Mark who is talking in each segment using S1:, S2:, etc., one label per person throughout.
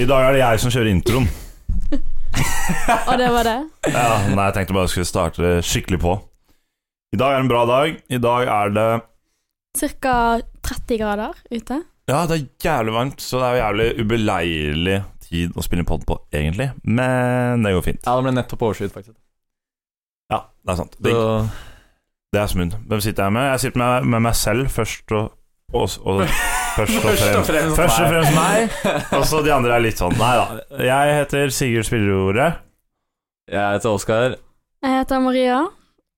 S1: I dag er det jeg som kjører introen.
S2: Og det var det.
S1: Ja, nei, jeg tenkte bare jeg skulle starte det skikkelig på. I dag er en bra dag. I dag er det
S2: Cirka 30 grader ute.
S1: Ja, det er jævlig varmt, så det er jo jævlig ubeleilig tid å spille pod på, egentlig. Men det går fint.
S3: Ja, det ble nettopp overskyet, faktisk.
S1: Ja, det er sant. Det,
S3: Så,
S1: det er smooth. Hvem sitter jeg med? Jeg sitter med, med meg selv først og, og, og Først og fremst. Først og fremst meg, og så de andre er litt sånn. Nei da. Jeg heter Sigurd Spillerordet.
S3: Jeg heter Oskar.
S2: Jeg heter Maria.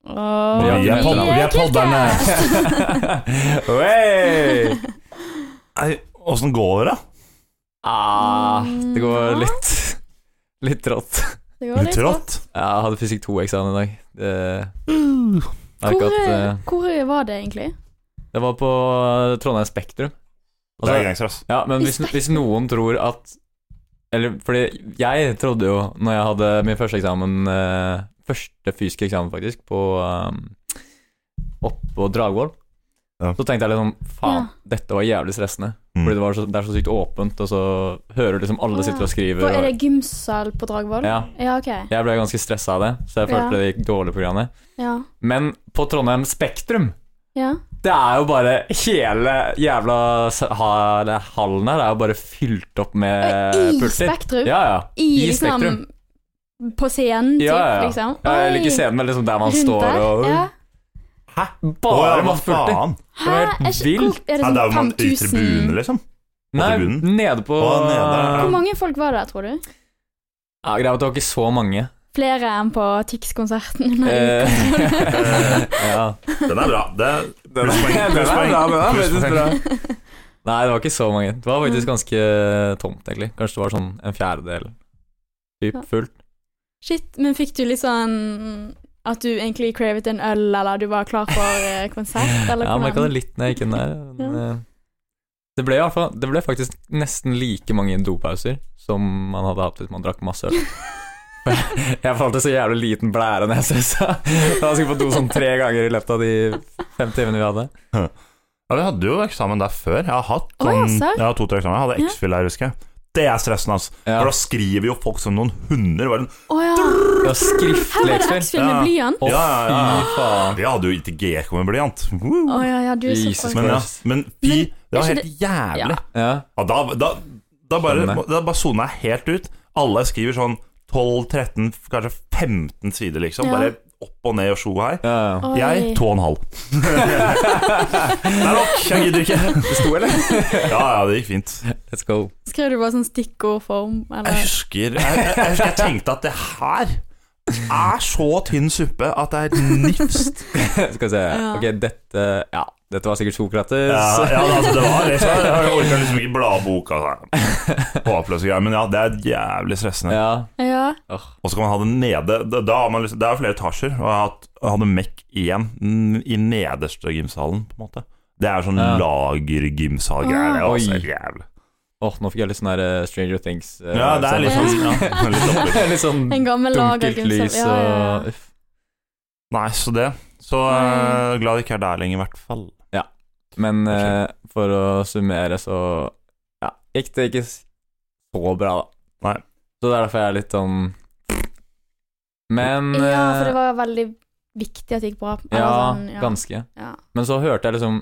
S2: Og
S3: Maria, vi er pod-
S1: vi er podderne.
S3: Oi!
S1: Nei, Åssen går det?
S3: Ah, det går
S2: Ja.
S3: litt Litt rått.
S1: da?
S2: Det går
S1: Litt rått?
S3: Jeg hadde fysikk 2-eksamen i dag. Det, jeg har
S2: Hvor, eh,
S3: ikke hatt,
S2: hvor var det egentlig?
S3: eh, det var på Trondheim Spektrum.
S1: Det er
S3: Altså,
S1: gangster, ass.
S3: ja, men hvis, hvis noen tror at Eller fordi jeg trodde jo, når jeg hadde min første eksamen eh, Første fysiske eksamen, faktisk, på eh, Oppå Dragvoll,
S1: Ja.
S3: så tenkte jeg liksom Faen,
S2: Ja.
S3: dette var jævlig stressende.
S1: Mm.
S3: Fordi det, var så, det er så sykt åpent, og så hører du liksom alle sitter og skriver.
S2: For er
S3: Og,
S2: det gymsal på Dragvoll?
S3: ja,
S2: Ja, ok.
S3: jeg ble ganske stressa av det, så jeg følte
S2: Ja.
S3: det gikk dårlig på greiene.
S2: Ja.
S3: Men på Trondheim Spektrum,
S2: ja.
S3: det er jo bare hele jævla s- ha- det- hallen her er jo bare fylt opp med
S2: Og i
S3: pulser.
S2: Spektrum?
S3: Eh, Ja, ja.
S2: I, liksom På scenen, typ,
S3: Ja, ja, ja.
S2: liksom?
S3: Ja, jeg
S2: Oi.
S3: liker scenen med liksom der man
S2: Rundt
S3: står
S2: der?
S3: og
S2: ja.
S1: Hæ?
S3: Bare
S1: Å, ja, hva
S3: masse pulter.
S1: faen?
S2: Hæ?
S3: var helt
S2: Er ikke-
S3: vilt.
S2: hvor- Er det
S1: Nei, det er jo
S2: sånn
S1: man i
S2: 5000
S1: tribunen, liksom.
S3: Nei,
S1: bunnen.
S3: nede på
S1: Å, nede, ja.
S2: Hvor mange folk var det der, tror du?
S3: Ja, Greia er at det var ikke så mange.
S2: Flere enn på Tix-konserten? Nei,
S3: Eh, ja.
S1: Den er bra. Det er plusspoeng.
S3: Den er
S1: plusspoeng,
S3: bra, den er
S1: plusspoeng.
S3: faktisk bra. Nei, det var ikke så mange. Det var
S2: Mm.
S3: faktisk ganske tomt, egentlig. Kanskje det var sånn en fjerdedel typ
S2: Ja.
S3: fullt.
S2: Shit, men fikk du litt sånn at du egentlig cravet en øl, eller du var klar for eh, konsert, eller
S3: Ja, merka det
S2: hvordan?
S3: litt når jeg gikk inn der. Men, eh, det ble, i hvert fall, det ble faktisk nesten like mange dopauser som man hadde hatt hvis man drakk masse øl. Jeg falt i så jævlig liten blære når jeg stressa. Da skulle jeg på do sånn tre ganger i løpet av de fem timene vi hadde.
S1: Ja, vi hadde jo eksamen der før. Jeg har hatt
S2: Å,
S1: sånn,
S2: serr?
S1: jeg har to-tre eksamener. Jeg
S2: Ja.
S1: hadde X-fil her, husker jeg. Det er stressende, altså.
S3: Ja,
S1: For da skriver jo folk som noen hunder. Bare,
S2: Å ja.
S3: ja
S2: Her var
S3: skriftlig
S2: det
S3: ekspert.
S2: X-film med
S1: Ja.
S2: blyant.
S3: Å,
S1: Ja, ja, ja.
S3: fy faen.
S1: vi hadde jo ITG kom med blyant. Woo!
S2: Å ja, ja, du er
S3: Jesus
S2: så
S1: Men, ja, men fy,
S2: Men,
S1: det var
S2: er
S1: helt jævlig.
S3: Ja.
S1: Ja, da, da, da bare,
S3: Skjønner.
S1: da bare sona jeg helt ut. Alle skriver sånn 12-13, kanskje 15 sider, liksom.
S2: Ja.
S1: Bare opp og ned og sjo her.
S3: ja, ja.
S2: Oi.
S1: Jeg to og en halv. Det er nok, jeg gidder ikke.
S3: Det sto, eller?
S1: Ja, ja, det gikk fint.
S3: Let's go.
S2: Skrev du bare sånn stikkordform,
S1: Jeg
S2: eller?
S1: husker jeg, jeg, jeg husker jeg tenkte at det her er så tynn suppe at det er nifst.
S3: Skal vi se.
S2: Ja.
S3: Ok, dette Ja, dette var sikkert Sokrates.
S1: Ja, ja, altså, det var liksom, jeg orka liksom ikke bla opp boka. så. Håpløse greier. Men ja, det er jævlig stressende.
S3: Ja.
S2: Ja.
S3: Åh,
S1: Og så kan man ha det nede. Da- Da har man liksom, det er jo flere etasjer, og jeg har hatt- jeg hadde MEC 1 i nederste gymsalen, på en måte. Det er sånn
S3: Ja.
S1: lagergymsalgreier. Det er også
S3: Oi.
S1: helt jævlig.
S3: Åh, nå fikk jeg litt sånn der eh, Stranger Things. eh,
S1: Ja, det er litt
S3: sånn-
S1: sånn ja, litt oppi.
S3: litt sånn
S2: En gammel
S3: dunkelt
S2: lagergymsal.
S3: lys
S2: Ja, ja,
S3: og
S2: ja.
S3: uff.
S1: Nei, så det. Så
S2: Nei.
S1: eh, glad det ikke er der lenger, i hvert fall.
S3: Men eh, for å summere, så ja, gikk det ikke så bra, da.
S1: Nei.
S3: Så det er derfor jeg er litt sånn Men
S2: ja, for det
S3: eh,
S2: var veldig viktig at det gikk bra. eller
S3: ja,
S2: sånn, ja.
S3: ganske.
S2: Ja.
S3: Men så hørte jeg liksom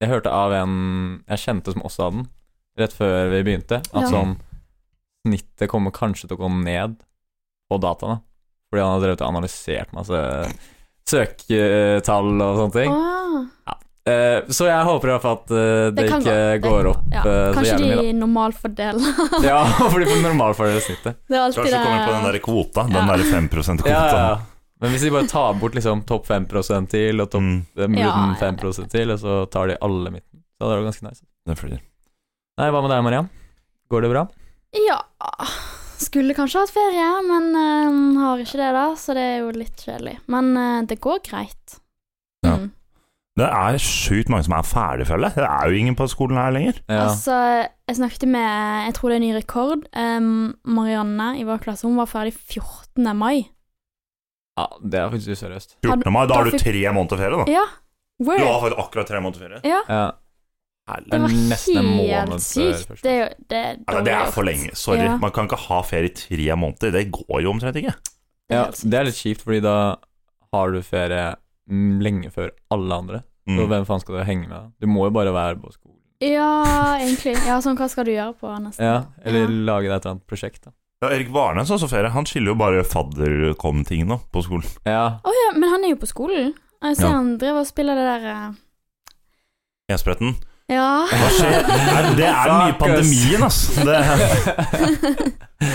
S3: Jeg hørte av en jeg kjente som også hadde den, rett før vi begynte, at
S2: Ja.
S3: sånn snittet kommer kanskje til å gå ned på dataene. Fordi han har drevet og analysert masse søketall og sånne ting.
S2: Ah,
S3: Eh, så jeg håper i hvert fall at eh, det,
S2: Det kan
S3: ikke
S2: gå- det-
S3: går opp
S2: ja.
S3: eh, så
S2: kanskje
S3: jævlig mye.
S2: de normalfordeler.
S3: da. Ja, fordi på normalfordelssnittet.
S2: Det er alltid
S1: Kanskje du kommer på den
S2: det
S1: der kvota,
S2: Ja.
S1: den der 5 %-kvota.
S3: Ja, ja. ja. Men hvis de bare tar bort liksom topp 5 til og topp
S1: Mm,
S3: eh, midten
S2: Ja, ja,
S3: 5 til, og så tar de alle midten, så hadde det vært ganske nice.
S1: det flyr.
S3: Nei, hva med deg, Mariam? Går det bra?
S2: Ja Skulle kanskje hatt ferie, men eh, har ikke det, da, så det er jo litt kjedelig. Men eh, det går greit.
S1: Ja.
S2: Mm.
S1: Det er sjukt mange som er ferdig, føler jeg. Det er jo ingen på skolen her lenger.
S3: Ja.
S2: Altså, jeg snakket med Jeg tror det er ny rekord. Em, Marianne i vår klasse, hun var ferdig 14. mai.
S3: ja, det er faktisk useriøst.
S1: 14. mai, da
S2: da
S1: har du
S2: fikk-
S1: tre måneder ferie, da.
S2: Ja.
S1: Du
S2: Word.
S1: har faktisk akkurat tre måneder ferie.
S3: Ja.
S2: Det
S3: er
S2: var
S3: nesten en måned før
S2: helt sykt.
S3: første.
S2: Det er jo det er
S1: Nei, det er
S2: dårlig
S1: for
S2: gjort.
S1: lenge. Sorry.
S2: Ja.
S1: Man kan ikke ha ferie i tre måneder. Det går jo omtrent ikke.
S2: Det er
S3: Ja,
S2: helt sykt.
S3: det er litt kjipt, fordi da har du ferie mm, lenge før alle andre. Så
S1: Mm.
S3: hvem faen skal du henge med? da? Du må jo bare være på skolen.
S2: Ja, egentlig. Ja, sånn hva skal du gjøre på nesten?
S3: Ja, eller
S2: Ja.
S3: lage deg et eller annet prosjekt. da
S1: Ja, Erik Varnes har også ferie. Han skiller jo bare fadderkom-tingene opp på skolen.
S3: Ja,
S2: Å ja, men han er jo på skolen. Jeg ser
S1: Ja.
S2: han driver og spiller det der eh,
S1: Enspretten.
S2: Ja.
S1: Hva skjer? Nei, Det er den nye
S3: Fuck, ass.
S1: pandemien, ass. Det, det
S3: det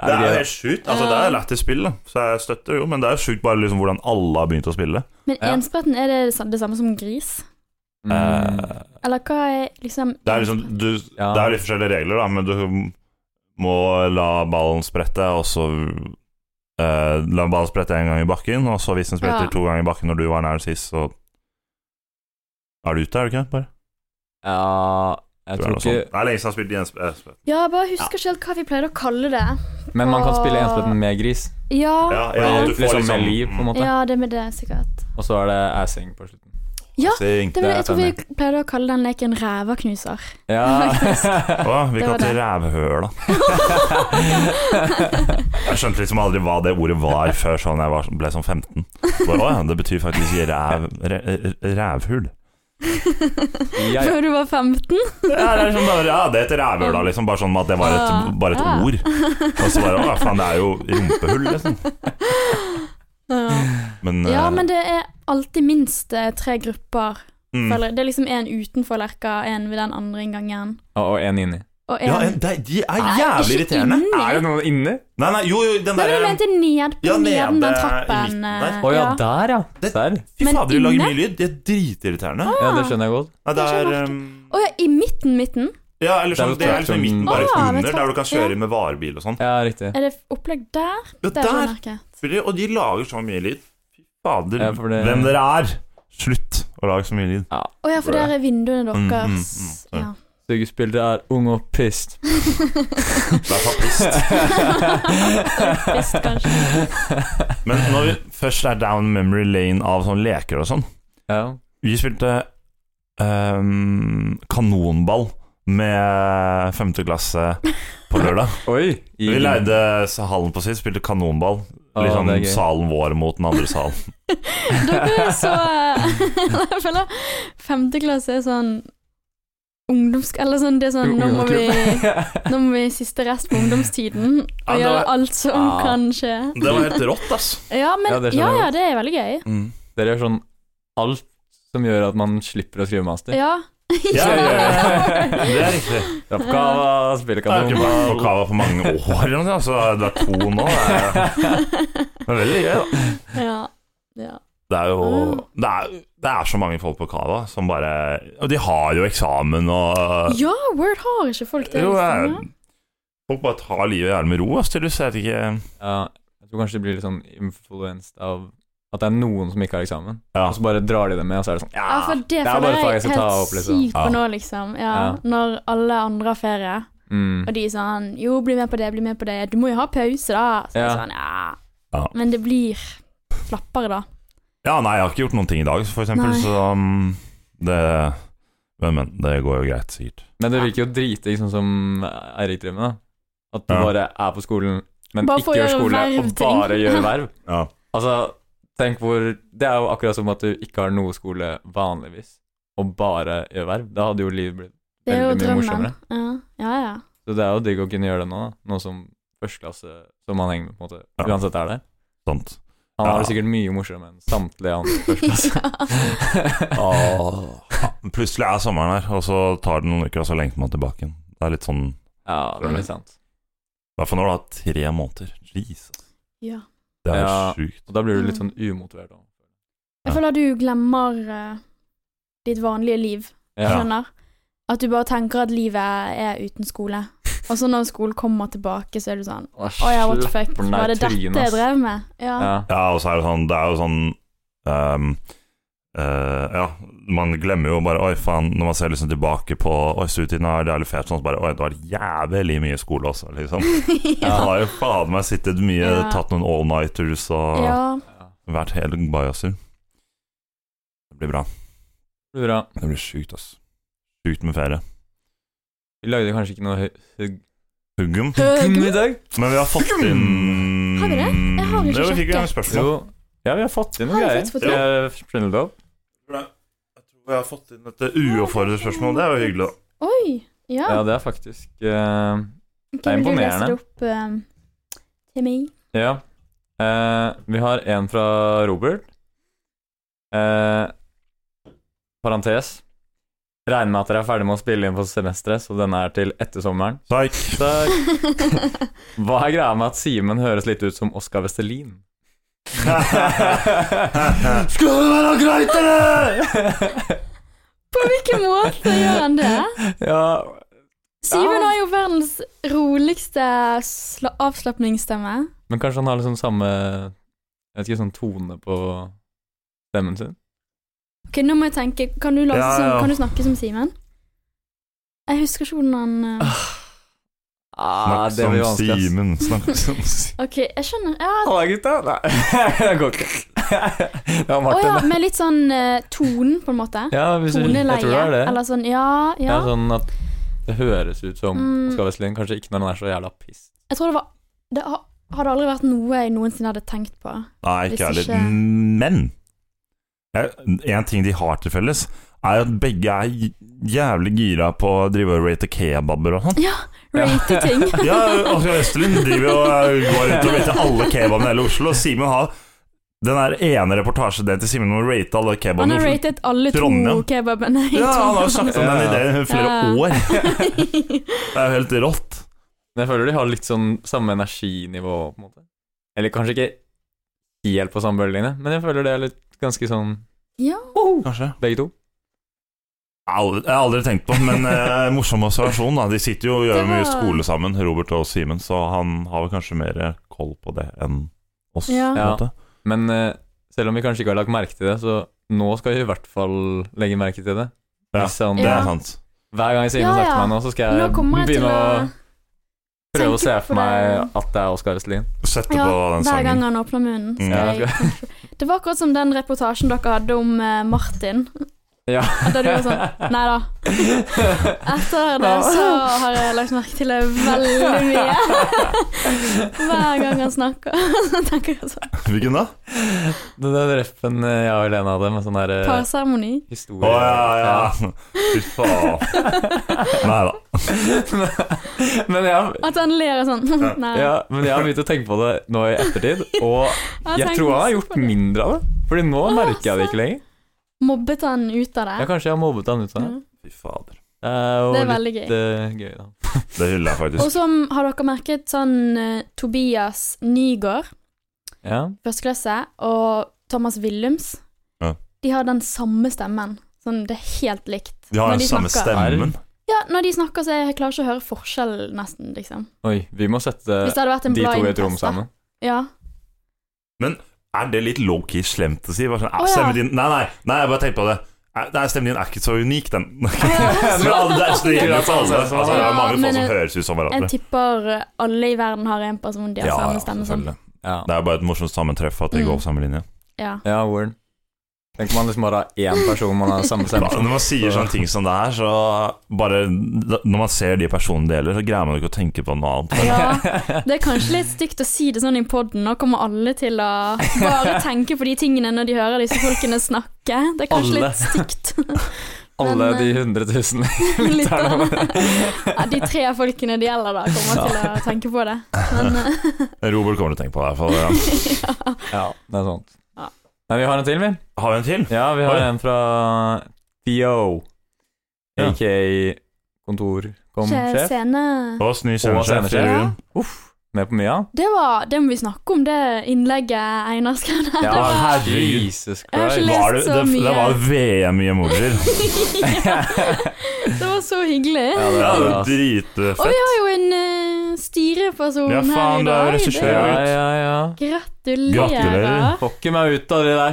S1: er
S3: gøy, da?
S1: helt sjukt. Altså, det er lættis spill, da. så jeg støtter jo, men det er jo sjukt bare liksom hvordan alle har begynt å spille.
S2: Men
S3: Ja.
S2: enspretten, er det det sa- det samme som gris?
S3: Mm.
S1: Eh,
S2: Eller hva er liksom
S1: Det er liksom du,
S3: Ja.
S1: Det er litt forskjellige regler, da, men du må la ballen sprette, og så eh, La ballen sprette én gang i bakken, og så hvis den spretter
S2: Ja.
S1: to ganger i bakken når du var nær sist, så er du ute, er du ikke? Bare.
S3: Ja,
S1: Det
S3: jeg
S1: er
S3: tror
S1: noe
S3: ikke
S1: sånt. Det er lenge siden jeg har spilt i en sp- eh, sp-
S2: Ja, jeg bare husker ikke helt hva vi pleide å kalle det.
S3: Men man kan spille
S2: Åh.
S3: enspretten med gris.
S2: Ja,
S1: Ja,
S2: ja,
S1: ja,
S3: Eller
S1: du får
S3: liksom
S1: liksom-
S3: med liv, på en måte.
S2: ja det med det, sikkert.
S3: Og så er det assing på slutten.
S2: Ja,
S1: Sing.
S2: Det var,
S3: Det er
S2: jeg tror vi
S3: jeg
S2: pleide å kalle den leken rævaknuser.
S3: Ja.
S1: Å, vi
S2: Det
S1: kan
S2: var
S1: til
S2: det.
S1: rævhøla. Jeg skjønte liksom aldri hva det ordet var før sånn jeg var, ble sånn 15. Bare, å, ja, det betyr faktisk ræv, ræ, rævhull.
S3: Ja, ja.
S2: Før du var 15?
S1: Ja, det er liksom bare, ja, det heter rævhull, da, liksom. Bare sånn at det var et, bare et
S2: Ah, Ja.
S1: ord. Og så bare Å, ja, faen, det er jo rumpehull, liksom.
S2: Ja.
S1: Men,
S2: ja,
S1: eh,
S2: men det er alltid minst eh, tre grupper.
S1: mm.
S2: føler jeg. Det er liksom en utenfor lerka, en ved den andre inngangen,
S3: Og, og en inni.
S2: og
S1: ja,
S2: en
S1: en- det, de er
S2: Nei,
S1: jævlig
S2: ikke
S1: irriterende.
S2: inni.
S3: Er det noen inni?
S1: Nei, nei, jo, jo, den eh,
S2: Nei, men du
S1: derre
S2: mente ned på
S1: Ja,
S2: neden
S1: nede
S2: den
S1: i
S2: trappen.
S1: midten der.
S2: eh,
S3: Å ja, der, ja.
S1: Det-
S3: Der.
S1: Fy
S2: Men
S1: fader, de lager
S2: inne?
S1: mye lyd. De er dritirriterende.
S3: Ja, det skjønner jeg godt.
S1: Nei, det
S2: Det
S1: er
S2: skjønner jeg
S1: ehm,
S2: Å ja, i midten, midten?
S1: Ja, eller sånn, det er liksom i midten, bare
S2: Ah,
S1: under,
S2: men
S1: der du kan
S2: trakk-
S1: kjøre med varebil og sånn.
S3: Ja, riktig.
S2: Er det opplegg der?
S1: Ja,
S2: Der,
S1: der!
S2: der.
S1: spiller, og de lager så mye lyd. Fy fader,
S3: Ja, for det-
S1: hvem dere er! Slutt å lage så mye lyd.
S2: Å ja, for der er vinduene
S1: Mm, mm,
S2: deres.
S1: mm,
S2: Ja.
S3: Sugespillere er unge og pissed.
S1: Det er papist.
S2: Visst, kanskje.
S1: Men når vi først er down memory lane av sånne leker og sånn
S3: Ja.
S1: Vi spilte ehm, kanonball med femte klasse på lørdag.
S3: Oi.
S1: Vi leide hallen på sitt, spilte kanonball.
S3: Å,
S1: Liksom
S3: det er gøy.
S1: salen vår mot den andre salen.
S2: Dere er så eh, Jeg føler femte klasse er sånn ungdoms... Eller sånn, det er sånn Nå må vi nå må vi siste rest på ungdomstiden
S1: Ja,
S2: og
S1: det
S2: gjøre
S1: var-
S2: alt som
S3: Ah.
S2: kan skje.
S1: Det var helt rått, ass.
S2: Ja, men,
S3: Ja, det skjønner
S2: ja,
S3: jeg
S2: ja, det er veldig gøy.
S3: Dere gjør sånn alt som gjør at man slipper å skrive master.
S2: Ja.
S1: Ja, ja, ja. Det er riktig.
S3: Rappkava, spille
S1: Jeg har ikke
S3: kanon.
S1: vært på Kava på mange år, eller noe, så det er to nå. Det er, det er veldig gøy, da.
S2: ja. ja.
S1: Det er jo
S2: Ah.
S1: det er, det er så mange folk på Kava som bare Og de har jo eksamen og
S2: Ja, Word har ikke folk
S1: Ah.
S2: det.
S1: Jo, eh, jeg-
S2: liksom,
S1: Folk bare tar livet i hjernen med ro, ass, til du ser ikke Ja,
S3: Ja, jeg tror kanskje de blir litt sånn influenset av at det er noen som ikke har eksamen. Og så bare drar de det med, og så er det sånn
S2: Ja, for det
S3: er bare
S2: føler
S3: faget jeg
S2: jeg
S3: skal ta opp,
S2: helt
S3: liksom.
S2: sykt på
S1: Ah. Ja.
S2: nå, liksom. Ja,
S3: Ja.
S2: Når alle andre har ferie,
S3: mm.
S2: og de er sånn Jo, bli med på det, bli med på det. Du må jo ha pause, da. Så er det
S3: Ja.
S2: sånn, ja.
S1: Ja.
S2: Men det blir slappere, da.
S1: ja, nei, jeg har ikke gjort noen ting i dag, for eksempel,
S2: Nei.
S1: så um, det men, men det går jo greit, sikkert.
S3: Men det virker jo dritdigg, sånn som Eirik driver med, da. At du
S1: Ja.
S3: bare er på skolen, men
S2: Bare
S3: ikke
S2: for å
S3: gjør
S2: gjøre
S3: skole, og
S2: vervting.
S3: bare gjør verv.
S1: Ja.
S3: Altså, tenk hvor Det er jo akkurat som at du ikke har noe skole vanligvis, og bare gjør verv. Da hadde jo livet blitt
S2: Det er jo
S3: Veldig mye
S2: drømmen. Ja, ja. ja.
S3: Så det er jo digg å kunne gjøre det nå, da. Nå som førsteklasse som han henger med, på en måte.
S1: Ja.
S3: Uansett er det.
S1: Sant.
S3: Han
S1: Ja.
S3: har det sikkert mye morsommere enn samtlige andre i førsteklasse.
S1: Ja, plutselig er sommeren her, og så tar det noen uker, og så lengter man tilbake igjen. Det er litt sånn
S3: ja, det er litt sant.
S1: I hvert fall når du har tre måneder. Jesus.
S2: ja.
S1: Det er
S3: Ja.
S1: sjukt.
S3: Og da blir du litt sånn umotivert. da.
S1: Ja.
S2: Jeg føler du glemmer eh, ditt vanlige liv,
S3: Ja.
S2: skjønner. At du bare tenker at livet er uten skole. Og så når skolen kommer tilbake, så er du sånn Å ja, what the fuck,
S3: den der
S2: var det dette
S3: trynet,
S2: jeg
S3: ass.
S2: drev med? Ja.
S3: Ja.
S1: Ja, og så er det sånn Det er jo sånn ehm, eh, Ja, man glemmer jo bare Oi, faen, når man ser liksom tilbake på Oi, studietiden er jævlig fet sånn, så bare Oi, det var jævlig mye skole også, liksom.
S2: ja.
S1: Man har jo fader meg sittet mye,
S2: Ja.
S1: tatt noen all-nighters og
S2: ja.
S3: Ja.
S1: vært helt bajaser. Det blir bra.
S3: Det blir bra.
S1: Det blir sjukt, ass. sjukt med ferie.
S3: Vi lagde kanskje ikke noe hø- hø-
S1: Huggum.
S3: gym i
S2: Høgum?
S3: dag?
S1: Men vi har fått inn
S2: Har vi det? Jeg har ikke
S1: Jo, vi fikk
S2: sjekket.
S1: jo en spørsmål.
S3: Jo. Ja, vi har fått inn noe
S2: Har vi
S3: greier.
S2: faktisk fått
S3: Eh, Sprindel opp.
S1: Jeg tror jeg har fått inn et uoppfordret spørsmål. Det er jo hyggelig. da.
S2: Oi. Ja.
S3: Ja, det er faktisk eh,
S2: Ok,
S3: er
S2: vil du lese
S3: imponerende.
S2: det opp ehm, til meg?
S3: Ja. Eh, vi har en fra Robert. Eh, parentes. Regner med at dere er ferdig med å spille inn for semesteret, så denne er til etter sommeren.
S1: Takk.
S3: Takk. Hva er greia med at Simen høres litt ut som Oskar Vestelin?
S1: Skal det være greit,
S2: På hvilken måte gjør han det?
S3: Ja,
S2: Simen har jo verdens roligste sla- avslapningsstemme.
S3: men kanskje han har liksom samme Jeg vet ikke, sånn tone på stemmen sin?
S2: Ok, nå må jeg tenke. Kan du, late
S1: Ja,
S2: som,
S1: ja.
S2: kan du snakke som Simen? Jeg husker ikke hvordan han eh,
S3: Ah,
S1: Snakk som Simen. Snakk som Simen.
S2: Ok, jeg skjønner. Ja,
S3: Halla, gutta! Nei, det går ikke. Det var
S2: å
S3: Martin,
S2: ja,
S3: det.
S2: med litt sånn eh, tonen, på en måte.
S3: Ja, hvis du, jeg tror det
S2: Toneleie.
S3: er det.
S2: Eller sånn ja,
S3: Det
S2: ja.
S3: er sånn at det høres ut som
S2: Mm.
S3: Oskar Westlien, kanskje ikke når han er så jævla piss.
S2: Jeg tror det var Det ha- hadde aldri vært noe jeg noensinne hadde tenkt på.
S1: Nei, ikke
S2: Hvis
S1: ærlig.
S2: ikke-
S1: Men jeg- en ting de har til felles, er at begge er j- jævlig gira på å drive og rate kebaber og sånn.
S2: Ja, rate ting.
S1: Ja, Oskar Østelin driver jo og går rundt og rater alle kebabene i hele Oslo, og Simen har den der ene reportasjedelen til Simen om å rate alle
S2: Han
S1: kebabene. i
S2: har
S1: Oslo.
S2: ratet alle to
S1: Trondheim.
S2: kebabene i
S1: Ja, han har jo snakket om den
S3: Ja.
S1: ideen i flere
S2: Ja.
S1: år.
S2: Trondheim.
S1: Det er jo helt rått.
S3: Men jeg føler de har litt sånn samme energinivå, på en måte. Eller kanskje ikke helt på samme bølgelinje, men jeg føler det er litt ganske sånn
S2: Ja.
S1: Kanskje.
S3: begge to.
S1: Jeg har aldri- jeg har aldri tenkt på det, men eh, morsom observasjon. da De sitter jo og gjør
S2: Det var-
S1: mye skole sammen, Robert og Simen, så han har vel kanskje mer koll på det enn oss.
S2: Ja.
S1: på en måte.
S3: Men eh, selv om vi kanskje ikke har lagt merke til det, så nå skal vi i hvert fall legge merke til det.
S1: Ja,
S3: Hvis han,
S1: Det
S2: Ja.
S1: er sant.
S3: Hver gang Simen
S2: Ja,
S3: snakker
S2: ja.
S3: med meg nå, så skal
S2: Nå
S3: jeg
S2: kommer jeg til
S3: begynne
S2: å
S3: Eh, å prøve å se
S2: tenke på
S3: for meg
S2: det.
S3: at det er Oskar Westlien.
S1: Sette
S2: ja,
S1: på den
S2: Hver gang
S1: sangen.
S2: han åpner munnen.
S3: Mm.
S2: skal
S1: Ja.
S2: jeg kanskje- Det var akkurat som den reportasjen dere hadde om eh, Martin.
S3: Ja.
S2: Da du var sånn Nei da. Etter det så har jeg lagt merke til det veldig mye. Hver gang han snakker, så tenker jeg sånn
S1: Hvilken da?
S3: Den der reppen eh, jeg og Helene hadde med sånn der eh,
S2: Parseremoni.
S3: historie
S1: Å ja, ja. Fy faen. Nei da.
S3: Men jeg,
S2: At han ler og sånn. Nei.
S3: ja, men jeg har begynt å tenke på det nå i ettertid, og jeg tror han har gjort
S2: mye.
S3: mindre av det. Fordi nå
S2: Å,
S3: merker jeg det
S2: sant.
S3: ikke lenger.
S2: Mobbet han ut av det?
S3: Ja, kanskje jeg har mobbet han ut av det.
S2: Ja.
S1: Fy fader.
S3: Det er jo
S2: Mm. Det er
S3: litt
S2: veldig gøy.
S3: eh, gøy, da.
S1: Det hyller jeg faktisk.
S2: Og som har dere merket, sånn eh, Tobias Nygaard,
S3: Ja.
S2: førsteklasse, og Thomas Willums,
S1: Ja.
S2: de har den samme stemmen. Sånn, det er helt likt.
S1: De har
S2: når
S1: den
S2: de
S1: samme
S2: snakker.
S1: stemmen.
S2: Ja, når de snakker, så jeg klarer ikke å høre forskjell, nesten, liksom.
S3: Oi, vi må sette
S2: Hvis det hadde vært en
S3: Eh, de to i et rom
S2: blindtest, da.
S3: sammen.
S2: Ja.
S1: Er det litt low-key slemt å si? Bare sånn,
S2: Å,
S1: «Ah,
S2: ja.
S1: stemmen din Nei, nei, nei, jeg bare tenkte på det. Eh, Nei, stemmen din er ikke så unik, den.
S2: ja, sånn,
S1: Men alle- det er- det gjelder for alle. Altså, det er
S2: Ja,
S1: mange folk
S2: men
S1: som
S2: jeg-
S1: høres ut som hverandre.
S2: Jeg tipper eh, alle i verden har en person de har samme stemme som.
S1: selvfølgelig.
S3: Ja.
S1: Det er bare et morsomt sammentreff at de
S2: Mm.
S1: går på samme linje.
S2: Ja.
S3: ja, Warren. Tenk om man liksom bare har én person man har samme stemme
S1: Når
S3: som.
S1: man sier sånne ting som det her, så bare Når man ser de personene det gjelder, så greier man ikke å tenke på noe annet.
S2: ja. Det er kanskje litt stygt å si det sånn i poden. Nå kommer alle til å bare tenke på de tingene når de hører disse folkene snakke. Det er kanskje
S3: Alle.
S2: litt stygt.
S3: Alle
S2: Men, eh,
S3: de hundre tusen
S2: Litt
S3: lytterne.
S2: ja, de tre folkene det gjelder, da, kommer til å tenke på det. Men eh,
S1: Robert kommer til å tenke på det. For, ja.
S3: Ja, det er sant.
S2: Ja.
S3: Nei, vi har en til, vi.
S1: Har vi en til?
S3: Ja, vi har
S1: Oi.
S3: en fra Theo,
S1: Ja.
S3: aka kontorkomsjef.
S2: scene
S1: Oss ny
S3: Og
S1: scenesjef.
S3: scenesjef.
S1: Jørgen.
S3: Med på mye,
S2: Det var Det må vi snakke om, det innlegget Einar skrev der.
S3: ja.
S2: Det var-
S1: herregud.
S3: Jesus
S2: Jeg har ikke
S3: Christ.
S2: lest
S1: Var det,
S2: så
S1: det, det
S2: mye.
S1: var VM i emojier.
S2: ja. Det var så hyggelig.
S3: Ja, det
S1: Ja,
S3: var
S1: det
S3: bra.
S1: er dritfett.
S2: Og vi har jo en eh, styreperson
S1: Ja, faen, det er jo
S2: her i
S1: regissør.
S2: dag.
S3: Ja, ja, ja.
S2: Gratulerer.
S1: Gratulerer.
S3: Få ikke meg ut av det der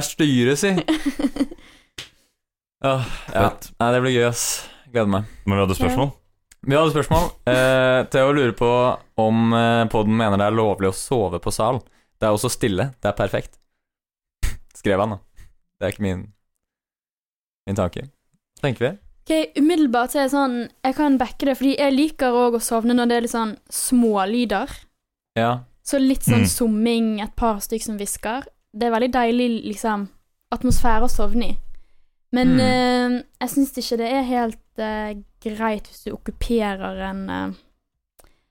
S3: styret, si. Åh, ja.
S1: Fett.
S3: Nei, det blir gøy, ass. Gleder meg.
S1: Men vi hadde spørsmål?
S3: Vi hadde et spørsmål. Eh, Theo lurer på om eh, podden mener det er lovlig å sove på sal. Det er også stille. Det er perfekt. Skrev han, da. Det er ikke min, min tanke. Tenker vi.
S2: Ok, Umiddelbart så er jeg sånn Jeg kan backe det, fordi jeg liker òg å sovne når det er litt sånn smålyder.
S3: Ja.
S2: Så litt sånn
S1: Mm.
S2: summing, et par stykk som hvisker. Det er veldig deilig liksom atmosfære å sovne i. Men
S3: Mm.
S2: eh, jeg syns ikke det er helt eh, greit hvis du okkuperer en eh,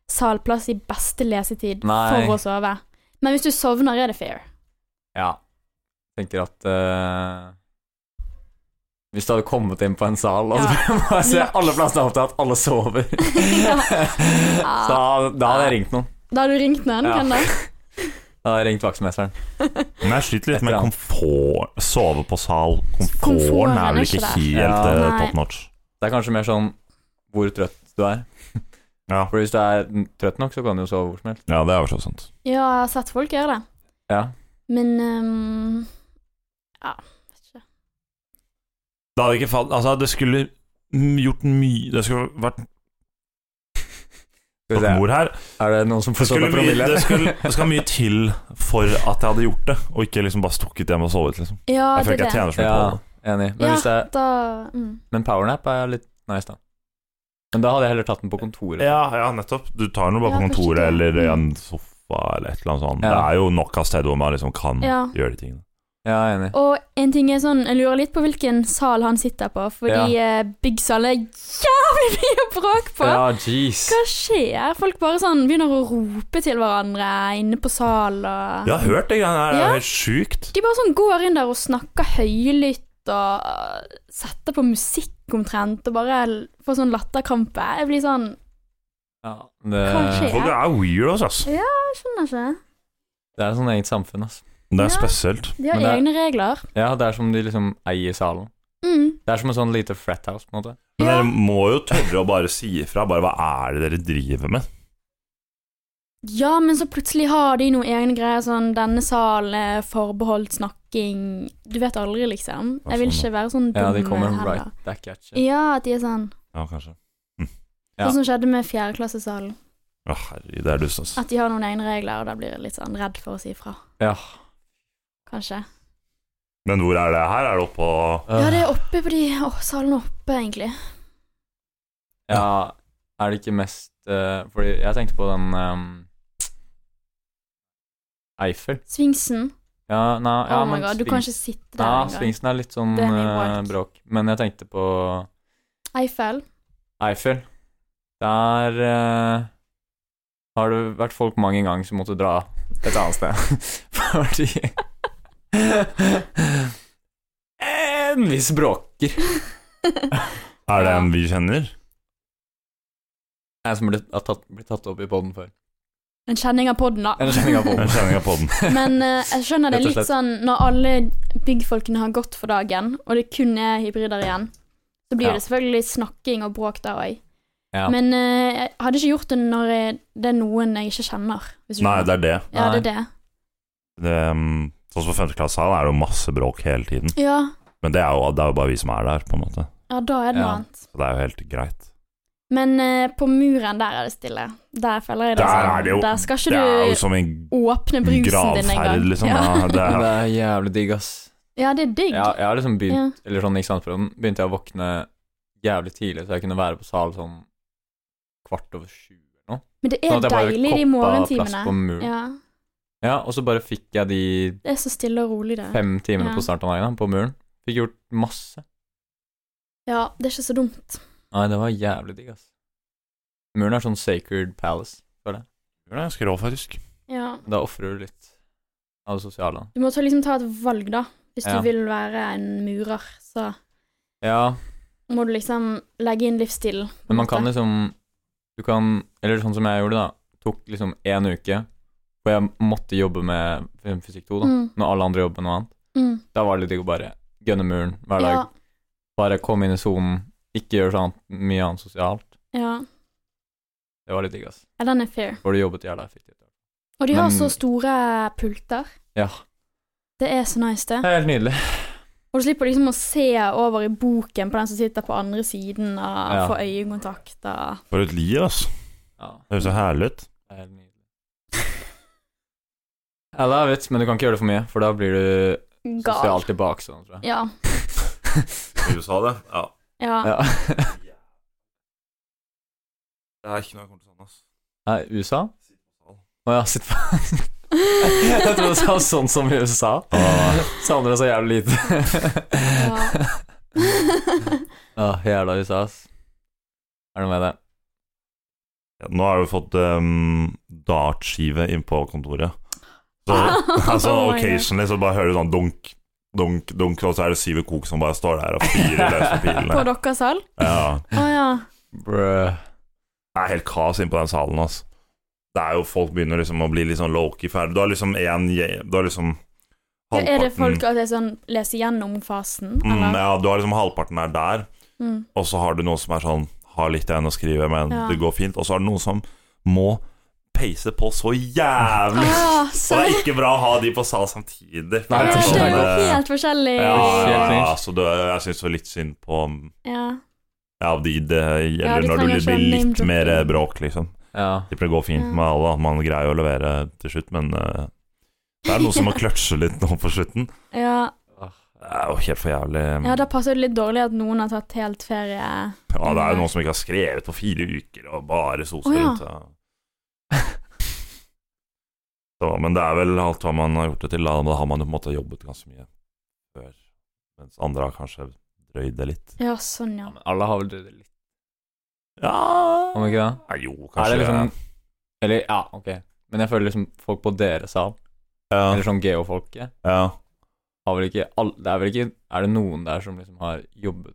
S2: salplass i beste lesetid
S3: Nei.
S2: for å sove. Men hvis du sovner, er det fair.
S3: ja. Tenker at eh, Hvis du hadde kommet inn på en sal, og så bare se alle plassene er opptatt, alle sover
S2: Ja.
S3: Så da, da hadde jeg ringt noen.
S2: Da har du ringt noen,
S3: Ja.
S2: kan det?
S3: Da hadde jeg ringt vaktmesteren.
S1: Men jeg sliter litt med
S3: Etter han.
S1: komfort Sove på sal.
S2: Komforten
S1: Komforten
S2: er
S1: er vel
S2: ikke
S1: ikke
S2: der.
S1: helt
S3: Ja.
S1: eh,
S2: Nei.
S1: top notch.
S3: Det er kanskje mer sånn hvor trøtt du er.
S1: Ja.
S3: For hvis du er n- trøtt nok, så kan du jo sove hvor som helst.
S1: Ja, det er jo så sant.
S2: Ja, jeg har sett folk gjøre det.
S3: Ja.
S2: Men ehm, Ja, vet ikke.
S1: Det hadde ikke falt Altså, det skulle mm, gjort mye Det skulle vært
S3: Skal vi se.
S1: mor her.
S3: Er det noen som
S1: Det,
S3: forstår
S1: skulle
S3: det
S1: mye,
S3: promille?
S1: det, skulle, det skal mye til for at jeg hadde gjort det, og ikke liksom bare stukket hjem og sovet, liksom.
S2: Ja,
S1: Jeg
S2: det
S1: føler ikke
S2: er
S1: jeg
S2: det.
S1: tjener så mye
S3: Ja,
S1: på det.
S3: enig. Men,
S2: Ja.
S3: hvis det er,
S2: Da mm.
S3: men powernap er litt nice, da. Men da hadde jeg heller tatt den på kontoret.
S1: Ja, ja, nettopp. Du tar den jo bare
S2: Ja,
S1: på kontoret
S2: kanskje det. Mm.
S1: eller i en sofa eller et eller annet sånt.
S3: Ja.
S1: Det er jo nok av steder hvor man liksom kan
S2: Ja.
S1: gjøre de tingene.
S3: Ja, enig.
S2: Og en ting er sånn, jeg lurer litt på hvilken sal han sitter på, fordi eh, Big Sal er jævlig mye bråk på.
S3: Ja, jeez.
S2: Hva skjer? Folk bare sånn begynner å rope til hverandre inne på salen og
S1: Jeg har hørt det greiene her, det er
S2: Ja.
S1: jo helt sjukt.
S2: De bare sånn går inn der og snakker høylytt og eh, setter på musikk omtrent og bare l- får sånn latterkrampe. Jeg blir sånn
S3: Ja, det,
S2: Kanskje.
S1: Folk er weirdos, ass.
S2: Ja, jeg skjønner ikke.
S3: det er et sånt eget samfunn, altså.
S1: Det
S2: Ja.
S1: er spesielt.
S2: De har
S3: Men det er-
S2: egne regler.
S3: Ja, det er som de liksom eier salen.
S2: Mm.
S3: Det er som et sånn lite frat house, på en måte.
S1: Men
S2: Ja.
S1: dere må jo tørre å bare si ifra. Bare hva er det dere driver med?
S2: Ja, men så plutselig har de noen egne greier sånn Denne salen er forbeholdt snakking Du vet aldri, liksom. Jeg vil ikke være sånn
S3: Ja,
S2: dum
S3: de kommer
S2: heller.
S3: right back at you.
S2: Ja, at de er sånn.
S1: Ja, kanskje.
S3: Ja.
S2: Sånn som skjedde med fjerdeklassesalen.
S1: Å, herregud, det er dust, ass.
S2: At de har noen egne regler, og da blir jeg litt sånn redd for å si ifra.
S3: Ja.
S2: Kanskje.
S1: Men hvor er det her? Er det oppå
S3: Øh.
S2: Ja, det er oppe på de Å, salen er oppe, egentlig.
S3: Ja, er det ikke mest eh, Fordi jeg tenkte på den ehm, Eiffel.
S2: Svingsen.
S3: Ja, nei, ja,
S2: oh my
S3: men
S2: god, du
S3: Sving-
S2: kan ikke sitte der
S3: Ja,
S2: engang.
S3: Svingsen er litt sånn
S2: Det er mye
S3: eh,
S2: wild.
S3: bråk. Men jeg tenkte på
S2: Eiffel.
S3: Eiffel. Der eh, har det vært folk mange ganger som måtte dra et annet sted. Fordi En viss bråker.
S1: Er det en vi kjenner?
S3: Jeg som ble, har tatt, blitt tatt opp i poden før.
S2: En kjenning av podden, da.
S3: En kjenning av
S1: En
S3: poden.
S1: kjenning av podden.
S2: Men eh, jeg skjønner det
S3: Rett og
S2: litt
S3: slett.
S2: sånn når alle byggfolkene har gått for dagen, og det kun er hybrider igjen, så blir
S3: Ja.
S2: det selvfølgelig snakking og bråk der òg.
S3: Ja.
S2: Men eh, jeg hadde ikke gjort det når jeg, det er noen jeg ikke kjenner. Hvis du
S1: Nei,
S2: skjønner.
S1: det er det.
S2: Ja, det er det.
S1: det um, sånn som på femteklasse her, er det jo masse bråk hele tiden.
S2: Ja,
S1: Men det er, jo, det er jo bare vi som er der, på en måte.
S2: ja da er det noe
S3: Ja.
S2: annet.
S1: Så det er jo helt greit.
S2: Men eh, på muren der er det stille. Der føler jeg det.
S1: Der
S2: sånn.
S1: er det jo-
S2: der skal
S1: Det er
S2: ikke
S1: jo som en
S2: du åpne brusen din
S1: gravferd,
S2: engang.
S1: liksom.
S2: Ja.
S1: Ja, det
S3: Men
S1: er,
S3: det er jævlig digg, ass.
S2: ja, det er digg.
S3: Jeg, jeg har liksom begynt
S2: Ja.
S3: Eller sånn i eksamensperioden begynte jeg å våkne jævlig tidlig, så jeg kunne være på sal sånn kvart over sju eller noe.
S2: Men det
S3: Sånn
S2: er
S3: at jeg bare
S2: deilig de
S3: koppa plass på
S2: morgentimene.
S3: muren. Ja.
S2: Ja,
S3: og så bare fikk jeg de
S2: det er så stille og rolig der.
S3: fem timene
S2: Ja.
S3: på starten av dagen da, på muren. Fikk gjort masse.
S2: Ja, det er ikke så dumt.
S3: Nei, det var jævlig digg, ass. Muren er sånn sacred palace, føler jeg.
S1: det er ganske rå, faktisk.
S2: Ja.
S3: Da ofrer du litt av det sosiale.
S2: Du må ta, liksom ta et valg, da. Hvis
S3: Ja.
S2: du vil være en murer, så
S3: Ja,
S2: må du liksom legge inn livsstilen. på en
S3: men man kan
S2: måte.
S3: liksom Du kan Eller sånn som jeg gjorde, da. Tok liksom én uke, hvor jeg måtte jobbe med fysikk 2, da.
S2: mm,
S3: når alle andre jobber med noe annet.
S2: mm,
S3: Da var det litt digg å bare gønne muren hver dag.
S2: ja,
S3: Bare komme inn i sonen, ikke gjøre sånn mye annet sosialt.
S2: ja.
S3: Det var litt digg, ass.
S2: ja, den er fair.
S3: For du jobbet jævla effektivt.
S2: Og de har
S3: Men-
S2: så store pulter.
S3: Ja.
S2: Det er så nice,
S3: Det
S2: det.
S3: er helt nydelig.
S2: Og du slipper liksom å se over i boken på den som sitter på andre siden, og
S3: Ja.
S2: få øyekontakt og
S1: For et liv, ass.
S3: Ja,
S1: Det høres så herlig ut.
S3: det er helt nydelig. I love it, men du kan ikke gjøre det for mye, for da blir du
S2: Gal.
S3: sosialt tilbake sånn, tror jeg.
S2: Ja.
S1: I USA, det? Ja.
S2: Ja.
S3: Ja.
S1: Det er ikke noe jeg kommer til å savne, ass.
S3: Nei, USA? Å ja, sitt faen. Jeg trodde det var sånn som i USA. Savner det så jævlig lite.
S2: Ja.
S3: Å, jævla USA, ass. Er det noe med det?
S1: Ja, nå har vi fått um, dartskive inn på kontoret. Så altså,
S2: Oh my God.
S1: occasionally så bare hører du sånn dunk, dunk, dunk, og så er det Syve Kok som bare står der og fyrer løs på
S2: På
S1: pilene.
S2: deres hall?
S1: Ja.
S2: Å ja.
S3: Brø.
S1: Det er helt kaos inne på den salen, altså. Det er jo folk begynner liksom å bli litt sånn low-key ferdig. Du har liksom én je- Du har liksom
S2: Ja, Er det folk
S1: halvparten
S2: at jeg sånn leser gjennom fasen,
S1: mm,
S2: eller?
S1: Ja, du har liksom halvparten er der,
S2: Mm.
S1: og så har du noen som er sånn Har litt igjen å skrive, men
S2: Ja.
S1: det går fint. Og så er det noen som må peise på så jævlig.
S2: Ah,
S1: Og det
S2: sorry.
S1: er ikke bra å ha de på sal samtidig.
S3: Nei,
S2: Ja,
S3: det er
S2: det
S3: sånn,
S2: er jo
S1: eh,
S2: helt forskjellig.
S1: ja, ja, ja,
S3: Helt
S1: så det, jeg syns jo litt synd på
S2: Ja.
S1: ja, de det
S2: Ja,
S1: gjelder,
S2: de
S1: når det
S2: kan kanskje
S1: blir
S2: ha
S1: litt
S2: name-dropping.
S1: mer eh, bråk, liksom.
S3: Ja.
S1: Tipper det går fint
S2: Ja.
S1: med alle, at man greier å levere til slutt, men eh, det er noen som må kløtsje litt nå på slutten.
S2: Ja.
S1: Det er jo helt for jævlig.
S2: ja, da passer det litt dårlig at noen har tatt helt ferie.
S1: Ja, det er jo noen som ikke har skrevet på fire uker, og bare soser
S2: Å, ja.
S1: rundt. Ja. Så, men det er vel alt hva man har gjort det til, da. Men Da har man jo på en måte jobbet ganske mye før, mens andre har kanskje drøyd det litt.
S2: Ja, sånn, ja.
S3: ja men alle har vel det litt,
S1: Ja
S3: om ikke det?
S1: Nei, jo,
S3: Er
S1: kanskje
S3: det liksom Eller, ja, ok. Men jeg føler liksom folk på deres sal,
S1: ja,
S3: eller sånn geofolket,
S1: ja.
S3: har vel ikke all, Det er vel ikke Er det noen der som liksom har jobbet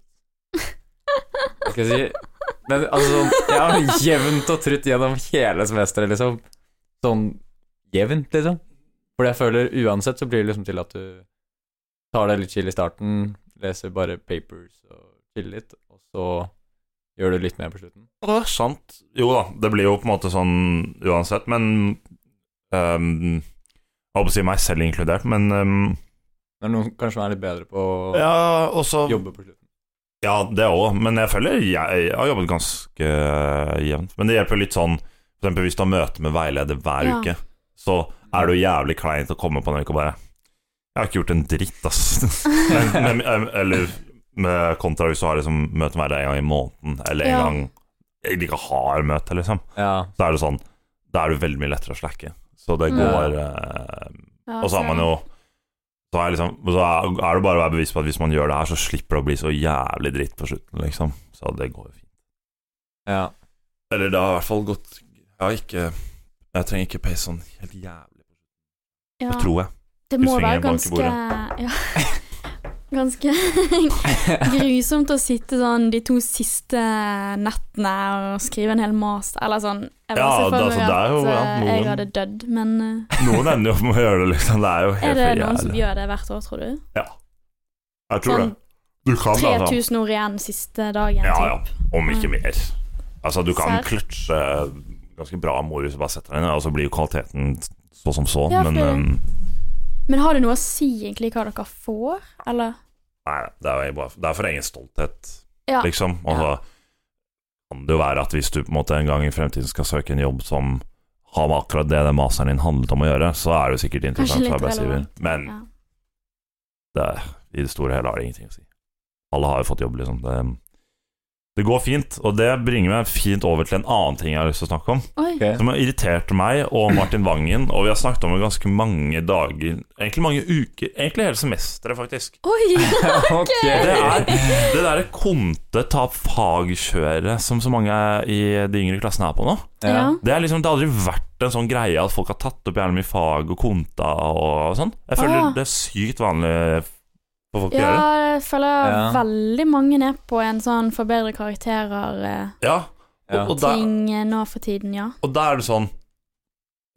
S3: Hva skal jeg si? Men altså sånn Ja, jevnt og trutt gjennom hele semesteret, liksom. Sånn jevnt, liksom. For jeg føler uansett så blir det liksom til at du tar deg litt chill i starten, leser bare papers og chiller litt, og så gjør du litt mer på slutten.
S1: Det er sant. Jo da, det blir jo på en måte sånn uansett, men ehm, Jeg holdt på å si meg selv inkludert, men ehm,
S3: Det er noen kanskje som er litt bedre på å
S1: Ja, også
S3: jobbe på slutten.
S1: Ja, det òg, men jeg føler jeg, har jobbet ganske eh, jevnt. Men det hjelper litt sånn For eksempel hvis du har møte med veileder hver
S2: Ja.
S1: uke, så er det jo jævlig kleint å komme på den uka og bare Jeg har ikke gjort en dritt, ass. men, men, eller med kontra hvis du har liksom møte hver dag en gang i måneden, eller en
S2: Ja.
S1: gang jeg ikke har møte, liksom.
S3: Ja.
S1: Så er det sånn Da er det veldig mye lettere å slacke. Så det
S2: Mm.
S1: går eh,
S2: ja
S1: og så har man jo så er, liksom, så er er det bare å være bevisst på at hvis man gjør det her, så slipper det å bli så jævlig dritt på slutten, liksom. Så det går jo fint.
S3: ja.
S1: Eller det har i hvert fall gått Jeg har ikke Jeg trenger ikke pace sånn helt jævlig,
S2: ja.
S1: tror jeg.
S2: Det må
S1: Kryssfingeren
S2: være
S1: banker
S2: ganske ja, Ganske grusomt å sitte sånn de to siste nettene og skrive en hel master, eller sånn. Jeg var
S1: Ja, det
S2: så
S1: er
S2: for
S1: så-
S2: meg
S1: det er jo, ja,
S2: at eh, jeg
S1: noen-
S2: hadde dødd, men eh,
S1: Noen ender jo opp med å gjøre det, liksom. Det er jo
S2: er
S1: helt
S2: det
S1: for
S2: noen som
S1: jævlig.
S2: gjør det hvert år, tror du?
S1: Jeg tror det.
S2: Sånn
S1: Du kan det, altså.
S2: 3000 ord igjen siste dagen,
S1: Ja, ja.
S2: typ.
S1: Om ikke mer. Altså, du kan
S2: Serr.
S1: kløtsje ganske bra moro hvis du bare setter deg ned, og så blir jo kvaliteten så som så,
S2: Ja,
S1: men
S2: for-
S1: um,
S2: Men har det noe å si egentlig hva dere får, eller?
S1: Nei, det er, jo bare, det er for egen stolthet.
S2: Ja.
S1: liksom. Og så kan det jo være at hvis du på en måte en gang i fremtiden skal søke en jobb som har med akkurat det den masteren din handlet om å gjøre, så er det jo sikkert interessant
S2: litt
S1: for arbeidsgiver.
S2: relevant,
S1: Men
S2: ja.
S1: det, i det store og hele har det ingenting å si. Alle har jo fått jobb, liksom. Det, det går fint, og det bringer meg fint over til en annen ting jeg har lyst til å snakke om,
S2: Oi.
S3: Ok.
S1: som har irritert meg og Martin Vangen, og vi har snakket om det ganske mange dager, egentlig mange uker, egentlig hele semesteret, faktisk.
S2: Oi!
S3: Ok.
S1: Det er det derre konte-ta-fag-kjøret som så mange i de yngre klassene er på nå.
S2: Ja.
S1: Det, er liksom, det har aldri vært en sånn greie at folk har tatt opp jævlig mye fag og konta og sånn. Jeg føler
S2: Ah.
S1: det er sykt vanlig for folk å
S2: Ja,
S1: gjøre.
S2: jeg føler
S3: Ja.
S2: veldig mange er på en sånn forbedre karakterer-ting
S1: Ja. Og,
S3: Ja.
S1: og, der,
S2: eh, nå for tiden, ja.
S1: og da er det sånn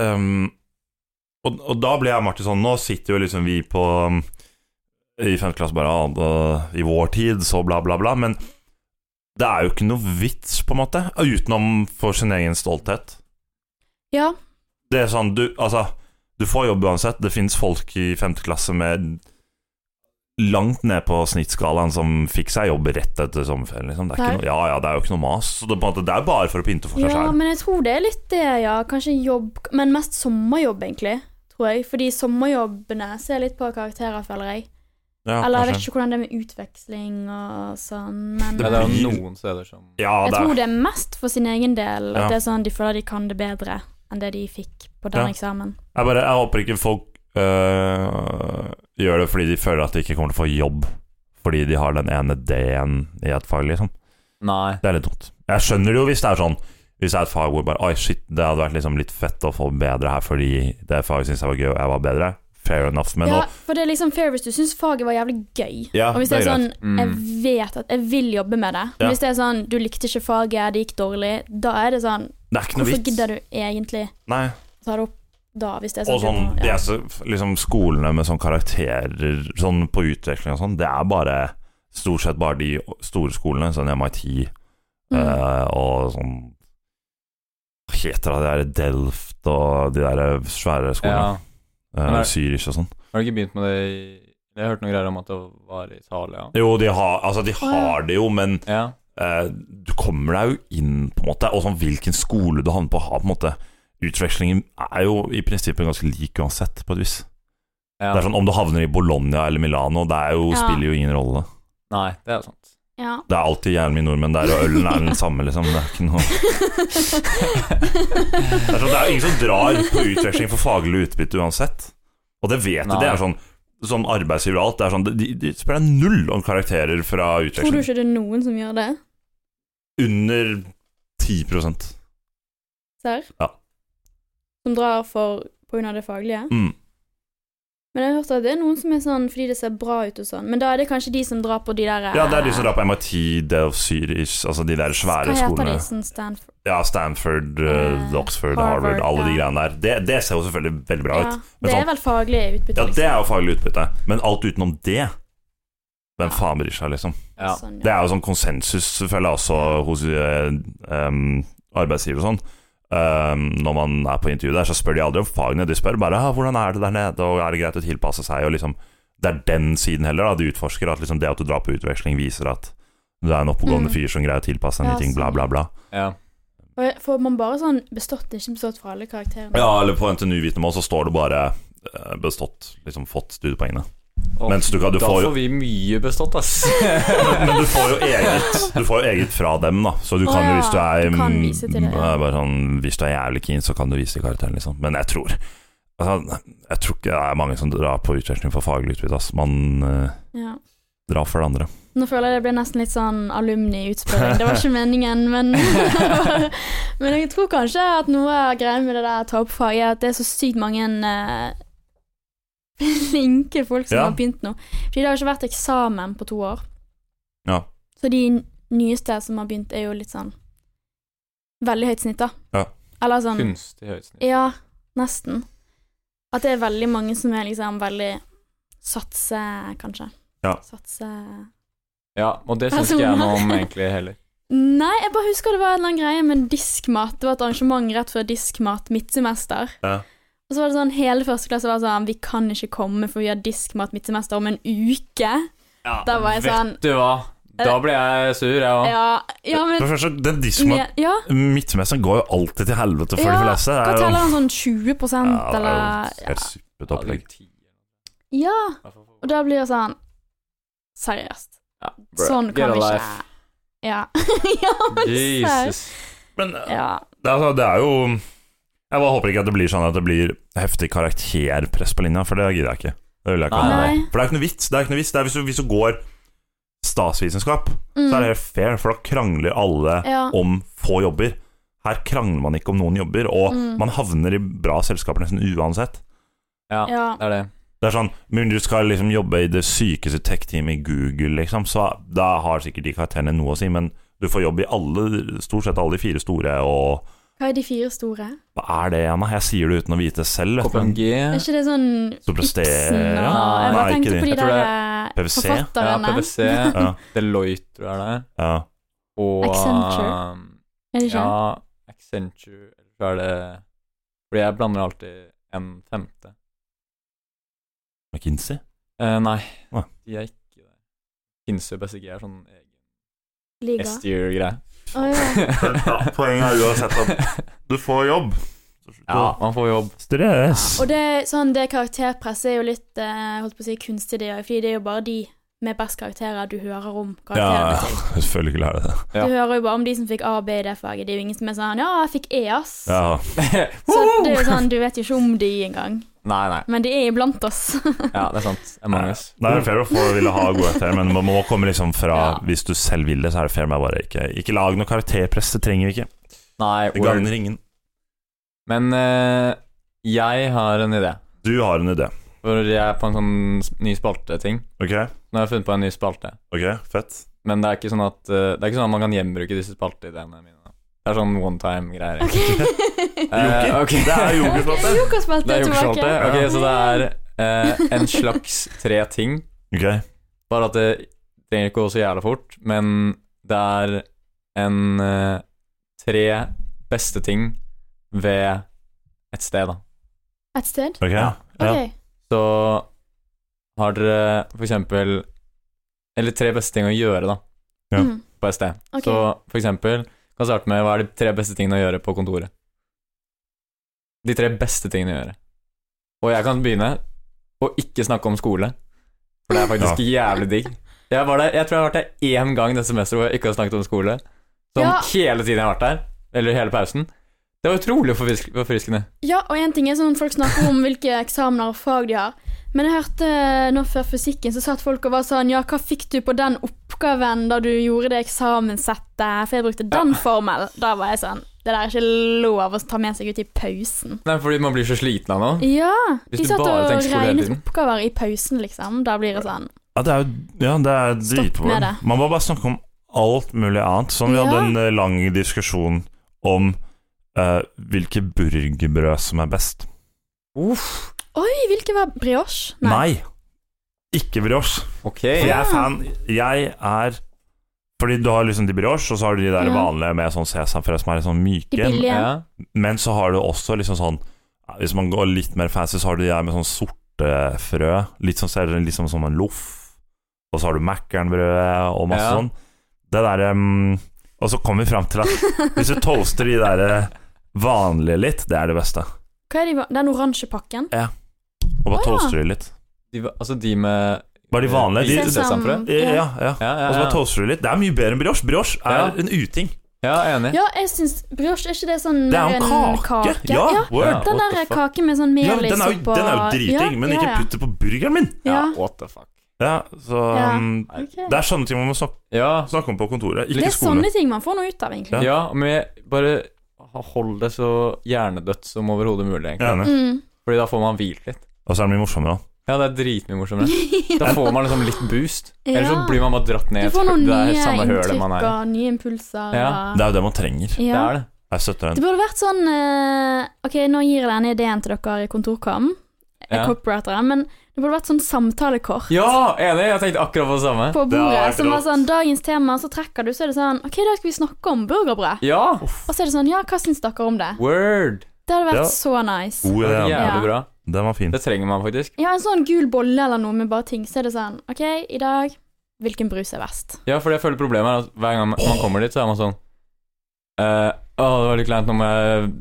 S1: ehm, og, og da ble jeg og Martin sånn Nå sitter jo liksom vi på um, i femte klasse bare ah, da- i vår tid, så bla, bla, bla. Men det er jo ikke noe vits, på en måte, utenom for sin egen stolthet.
S2: Ja,
S1: Det er sånn, du, altså Du får jobb uansett Det finnes folk i femte klasse med Langt ned på snittskalaen Som fikk seg jobb rett etter sommerferien liksom. det, er ikke noe,
S2: Nei.
S1: ja, ja, det er jo ikke noe mas Så det, er på en måte, det er bare for å pynte for seg
S2: ja,
S1: selv
S2: men jeg tror det er litt det, ja. Kanskje jobb Men mest sommerjobb, egentlig, tror jeg. Fordi sommerjobbene ser litt på karakterer, føler jeg.
S1: Ja,
S2: Eller jeg
S1: kanskje.
S2: vet ikke hvordan det er med utveksling og sånn, men
S3: Ja, det er jo noen steder som
S1: Ja,
S2: jeg
S1: det
S2: tror
S1: er
S2: det er mest for sin egen del. At
S1: Ja.
S2: det er sånn de føler de kan det bedre enn det de fikk på den
S1: Ja.
S2: eksamen.
S1: Jeg, bare, jeg håper ikke folk øh, gjør det fordi de føler at de ikke kommer til å få jobb fordi de har den ene D-en i et fag, liksom.
S3: Nei.
S1: Det er litt dumt. Jeg skjønner det jo hvis det er sånn Hvis det er et fag hvor bare Oi, shit, det hadde vært liksom litt fett å få bedre her fordi det faget syns jeg var gøy, og jeg var bedre. Fair enough. Men
S2: ja,
S1: nå
S2: for det er liksom fair hvis du syns faget var jævlig gøy.
S1: Ja,
S2: og hvis det er, sånn Jeg
S3: Mm.
S2: vet at jeg vil jobbe med det. Men
S1: Ja.
S2: hvis det er sånn du likte ikke faget, det gikk dårlig, da er det sånn
S1: Det er ikke noe
S2: Hvorfor
S1: vits.
S2: gidder du egentlig
S1: Nei.
S2: å ta det opp da, hvis det er sånn?
S1: Og sånn,
S2: du må-
S1: de
S2: ja.
S1: er så, liksom skolene med sånn karakterer sånn på utveksling og sånn, det er bare stort sett bare de store skolene, sånn MIT
S2: Mm.
S1: eh, og sånn Hva heter det, de der Delft og de der svære skolene?
S3: Ja.
S1: Ja.
S3: Nei.
S1: Zürich og sånn.
S3: Har du ikke begynt med det i Jeg har hørt noen greier om at det var i Italia.
S1: Jo, de har, altså, de
S2: ja.
S1: har det jo, men
S3: Ja.
S1: eh, du kommer deg jo inn, på en måte. Og sånn hvilken skole du havner på, har på en måte Utvekslingen er jo i prinsippet ganske lik uansett, på et vis.
S3: ja.
S1: Det er sånn Om du havner i Bologna eller Milano, det er jo,
S2: Ja.
S1: spiller jo ingen rolle.
S3: Nei, det er jo sant.
S2: ja.
S1: Det er alltid jævlig mye nordmenn der, og ølen er den samme, liksom. Det er ikke noe Det er, sånn, det er ingen som drar på utveksling for faglig utbytte uansett. Og det vet du.
S3: Nei.
S1: Det er sånn Sånn arbeidsgiver og alt. Det er sånn, de, de spiller null om karakterer fra
S2: Tror du
S1: utveksling.
S2: ikke det er noen som gjør det?
S1: Under 10
S2: Serr?
S1: Ja.
S2: Som drar for på grunn av det faglige?
S1: mm.
S2: Men jeg har hørt at det er noen som er sånn fordi det ser bra ut og sånn, men da er det kanskje de som drar på de der
S1: Ja, det er de som drar på MIT, Delft, Zürich, altså de der svære
S2: Hva heter
S1: skolene.
S2: de Sånn som Stanford
S1: Ja, Stanford, eh,
S2: Eh,
S1: Oxford,
S2: Harvard,
S1: Harvard, alle de
S2: ja.
S1: greiene der. Det, det ser jo selvfølgelig veldig bra ut.
S2: Ja,
S1: Men
S2: det
S1: sånn-
S2: er vel faglig utbytte,
S1: Ja, det er jo faglig utbytte. Men alt utenom det Hvem faen bryr seg, liksom?
S3: Ja.
S2: Sånn,
S1: Det er jo sånn konsensus, føler jeg, også hos eh, um, arbeidsgiver og sånn. Um, når man er på intervju der, så spør de aldri om fagene. De spør bare ah, 'hvordan er det der nede', og 'er det greit å tilpasse seg'? Og liksom, det er den siden heller da, de utforsker, at liksom det at du drar på utveksling, viser at du er en oppegående
S2: Mm.
S1: fyr som greier å tilpasse deg
S2: Ja,
S1: nye ting, bla,
S2: sånn.
S1: bla, bla.
S3: ja.
S2: Og jeg- Får man bare sånn bestått, ikke bestått for alle karakterene?
S1: Ja, eller på NTNU Vitnemål så står det bare eh, bestått, liksom fått studiepoengene.
S3: Og
S1: Mens du, kan- du
S3: da
S1: får jo
S3: får vi mye bestått, ass.
S1: Men, men du får jo eget Du får jo eget fra dem, da. Så du
S2: Å
S1: kan jo
S2: ja,
S1: hvis du er
S2: du kan vise til det, ja.
S1: eh, Bare sånn, Hvis du er jævlig keen, så kan du vise til karakteren, liksom. Men jeg tror altså, Jeg tror ikke det er mange som drar på utveksling for faglig utbytte. ass. Man eh,
S2: Ja.
S1: drar for det andre.
S2: Nå føler jeg det ble nesten litt sånn alumni-utspørring. Det var ikke meningen, men Mm. Men jeg tror kanskje at noe av greia med det der ta opp fag, er at det er så sykt mange eh, flinke folk som
S1: Ja.
S2: har begynt nå. Fordi det har ikke vært eksamen på to år.
S1: Ja.
S2: Så de nyeste som har begynt, er jo litt sånn Veldig høyt snitt, da.
S1: Ja.
S2: Eller sånn
S3: Kunstig høyt snitt.
S2: Ja, nesten. At det er veldig mange som er liksom veldig satse, kanskje.
S1: Ja.
S2: Satse
S3: Ja, og det syns ikke jeg noe om egentlig heller.
S2: Nei, jeg bare husker det var en eller annen greie med diskmat. Det var et arrangement rett før diskmat midtsemester.
S1: Ja.
S2: Og så var det sånn hele første klasse var sånn Vi kan ikke komme, for vi har diskmat midtsemester om en uke.
S3: Ja,
S2: Da var jeg sånn-
S3: Vet du hva, da ble jeg sur, jeg òg.
S2: Ja, ja
S1: For
S2: men
S1: det første, den disma,
S2: ne- Ja,
S1: Midtsemesteren går jo alltid til helvete for
S2: Ja,
S1: de fleste.
S2: hva
S1: Det er jo-
S2: teller han sånn 20
S1: Ja, det er jo
S2: eller
S1: helt suppet opplegg.
S2: Ja, og da blir det sånn Seriøst. Sånn kan vi ikke Ja. ja, men seriøst.
S3: Jesus.
S1: Men eh,
S2: Ja.
S1: det, er altså, det er jo Jeg bare håper ikke at det blir sånn at det blir heftig karakterpress på linja, for det gidder jeg ikke. Det vil jeg ikke ha.
S3: Nei.
S2: Nei.
S1: For det er ikke noe vits. Det er ikke noe vits. Det er hvis, du, hvis du går statsvitenskap, så er det helt fair, for da krangler alle
S2: mm. ja.
S1: om få jobber. Her krangler man ikke om noen jobber, og
S2: Mm.
S1: man havner i bra selskaper nesten uansett.
S3: Ja,
S2: ja.
S3: det er det.
S1: Det er sånn, Men du skal liksom jobbe i det sykeste tech-teamet i Google, liksom, så da har sikkert de karakterene noe å si, men du får jobb i alle, stort sett alle de fire store, og
S2: Hva er de fire store?
S1: hva er det igjen, da? Jeg sier det uten å vite det selv. vet du, men-
S3: KPMG
S2: Er ikke det sånn
S1: Så presterer-
S2: Ibsen og
S3: Ja,
S2: Jeg bare
S1: nei, ikke
S2: tenkte
S1: de.
S2: på de
S3: Jeg tror
S2: der
S3: det
S2: eh,
S1: PVC.
S3: Ja,
S2: forfatterne.
S3: PwC.
S1: Ja.
S3: Deloitte, tror jeg det er.
S1: Ja.
S3: Og
S2: Accenture.
S3: um,
S2: Er det ikke?
S3: Ja, Accenture Eller så er det Fordi jeg blander alltid en femte.
S1: McKinsey?
S3: Eh, nei,
S1: Hva?
S3: de er ikke det. Kinsey og BCG er sånn egen
S2: Liga.
S3: S-tier-greie.
S2: Å, ja.
S1: Poenget er uansett at du får jobb,
S3: Ja, man får jobb.
S1: Stress.
S2: Og det, sånn, det karakterpresset er jo litt eh, holdt på å si, kunstig, det òg, fordi det er jo bare de med best karakterer du hører om karakterene til.
S1: selvfølgelig er det det.
S2: Du
S3: Ja.
S2: hører jo bare om de som fikk A og B i det faget. Det er jo ingen som er sånn 'ja, jeg fikk E, ass'.
S1: Ja.
S2: Så det er jo sånn, du vet jo ikke om de engang.
S3: Nei, nei.
S2: Men de er iblant oss.
S3: Ja, det er sant. Among us.
S1: Det er fair å få ville ha godheter, men man må komme liksom fra
S2: Ja.
S1: Hvis du selv vil det, så er det fair. Men bare ikke Ikke lag noe karakterpress, det trenger vi ikke.
S3: Nei,
S1: Det
S3: word.
S1: gagner ingen.
S3: Men eh, jeg har en idé.
S1: Du har en idé.
S3: For jeg er på en sånn s- ny spalte-ting.
S1: Ok,
S3: Nå har jeg funnet på en ny spalte.
S1: ok, fett.
S3: Men det er ikke sånn at eh, Det er ikke sånn at man kan gjenbruke disse spalteideene mine. da. Det er sånn one time-greier.
S2: Ok.
S3: Eh, ok.
S1: Det er
S2: Ok,
S1: jokerspalte.
S2: Jokerspalte
S3: Det er
S2: er
S3: jokespalte.
S2: tilbake.
S3: Ok, så det er eh, en slags tre ting.
S1: Ok,
S3: Bare at det trenger ikke å gå så jævla fort, men det er en eh, tre beste ting ved et sted, da.
S2: Et sted?
S1: ok.
S3: Ja.
S1: Ja.
S2: Ok.
S3: Så har dere for eksempel Eller tre beste ting å gjøre, da,
S1: Ja.
S2: Mm,
S3: på et sted.
S2: ok.
S3: Så for eksempel kan starte med hva er de tre beste tingene å gjøre på kontoret? De tre beste tingene å gjøre. Og jeg kan begynne å ikke snakke om skole, for det er faktisk jævlig digg. Jeg, var der, jeg tror jeg har vært der én gang dette semesteret hvor jeg ikke har snakket om skole. Som
S2: Ja.
S3: hele tiden jeg har vært der, eller hele pausen. Det var utrolig forfrisk- forfriskende.
S2: Ja, og en ting er sånn folk snakker om hvilke eksamener og fag de har. Men jeg hørte eh, nå før fysikken, så satt folk og var sånn Ja, hva fikk du på den oppgaven da du gjorde det eksamenssettet? For jeg brukte den formel. Da var jeg sånn Det der er ikke lov å ta med seg ut i pausen.
S3: Nei, fordi man blir så sliten av noe.
S2: Ja.
S3: Hvis
S2: de
S3: du
S2: satt
S3: bare
S2: og
S3: tenker skole hele
S2: regnet
S3: tiden.
S2: oppgaver i pausen, liksom. Da blir det sånn.
S1: Ja, det er jo ja, det er
S2: med
S1: dritbra.
S2: det.
S1: Man må bare snakke om alt mulig annet. Sånn, vi hadde
S2: Ja.
S1: en eh, lang diskusjon om eh, hvilke burgerbrød som er best.
S3: Uff.
S2: Oi, hvilke var brioche?
S1: Nei. Ikke brioche.
S3: Ok.
S1: For jeg
S2: Ja.
S1: er fan. Jeg er Fordi du har liksom de brioche, og så har du de der
S2: Ja.
S1: vanlige med sånn sesamfrø som er litt sånn
S2: De
S1: myke.
S2: billige.
S3: Ja.
S1: Men så har du også liksom sånn Hvis man går litt mer fancy, så har du de der med sånn sorte frø. Litt sånn ser litt som- som en loff. Og så har du Mækkernbrødet og masse
S3: Ja.
S1: sånn. Det derre mm, Og så kommer vi fram til at hvis du toaster de derre vanlige litt, det er det beste.
S2: Hva er de, va- den oransje pakken?
S1: Og bare
S2: Å, ja.
S1: toaster de litt.
S3: De, var- altså de med
S1: Bare de vanlige, de-
S3: hvite sesamfrø?
S2: Sesam.
S1: Ja,
S2: Ja.
S1: ja. ja.
S3: Ja, ja,
S1: Og så bare
S3: ja.
S1: toaster du litt. Det er mye bedre enn brioche. Brioche er
S3: Ja.
S1: en uting.
S3: ja, enig.
S2: Ja, jeg syns Brioche, er ikke det sånn
S1: Det er
S2: mer
S1: jo en
S2: en
S1: kake. Ja,
S3: Ja.
S1: word.
S2: Den
S3: What the
S2: der
S3: fuck?
S2: kaken med sånn
S1: Ja,
S2: melis
S1: den er jo,
S2: oppå
S1: den er jo driting, men ikke putt det på burgeren min.
S2: Ja,
S3: what the fuck.
S1: Ja, så
S2: Ja.
S1: mm,
S2: ja. ok.
S1: Det er sånne ting man må snakke
S3: Ja,
S1: Snakk om på kontoret,
S2: Det
S1: ikke
S2: er
S1: skole.
S2: sånne ting man får noe ut av, egentlig.
S1: Ja.
S3: ja men jeg bare hold det så hjernedødt som overhodet mulig, egentlig.
S1: Jeg er enig.
S2: Mm.
S3: Fordi da får man hvilt litt.
S1: Og så er det mye morsommere, da.
S3: Ja, det er dritmye morsommere. Da får man liksom litt boost.
S2: Ja.
S3: Ellers så blir man bare dratt ned
S2: Du
S3: i et
S2: får
S3: høl-
S2: noen
S3: det er
S2: nye
S3: samme hølet man
S2: inntrykk
S3: er i.
S2: og nye impulser.
S3: Ja,
S2: og-
S1: Det er jo det man trenger.
S3: Det
S2: Ja.
S3: er det.
S1: Jeg støtter
S2: Det
S1: den.
S2: burde vært sånn eh, Ok, nå gir jeg denne ideen til dere i Kontorkom, eh,
S3: Ja.
S2: copywriteren, men det burde vært sånn samtalekort
S3: Ja, enig! Jeg tenkte akkurat på det samme.
S2: på
S1: Det hadde
S2: bordet
S1: vært
S2: som var
S1: rått.
S2: sånn Dagens tema, så trekker du, så er det sånn Ok, i dag skal vi snakke om burgerbrød.
S3: Ja!
S2: Og så er det sånn Ja, hva syns dere om det?
S3: Word!
S2: Det hadde vært
S1: Ja. Oh,
S2: så nice.
S1: God
S3: Det var
S1: idé.
S3: Jævlig
S2: Oh, Ja.
S3: bra.
S1: Den var fin.
S3: Det trenger man faktisk.
S2: Ja, en sånn gul bolle eller noe med bare ting, så er det sånn Ok, i dag, hvilken brus er best?
S3: Ja, for jeg føler problemet er at hver gang man kommer dit, så er man sånn eh, Å, det var litt kleint, nå må jeg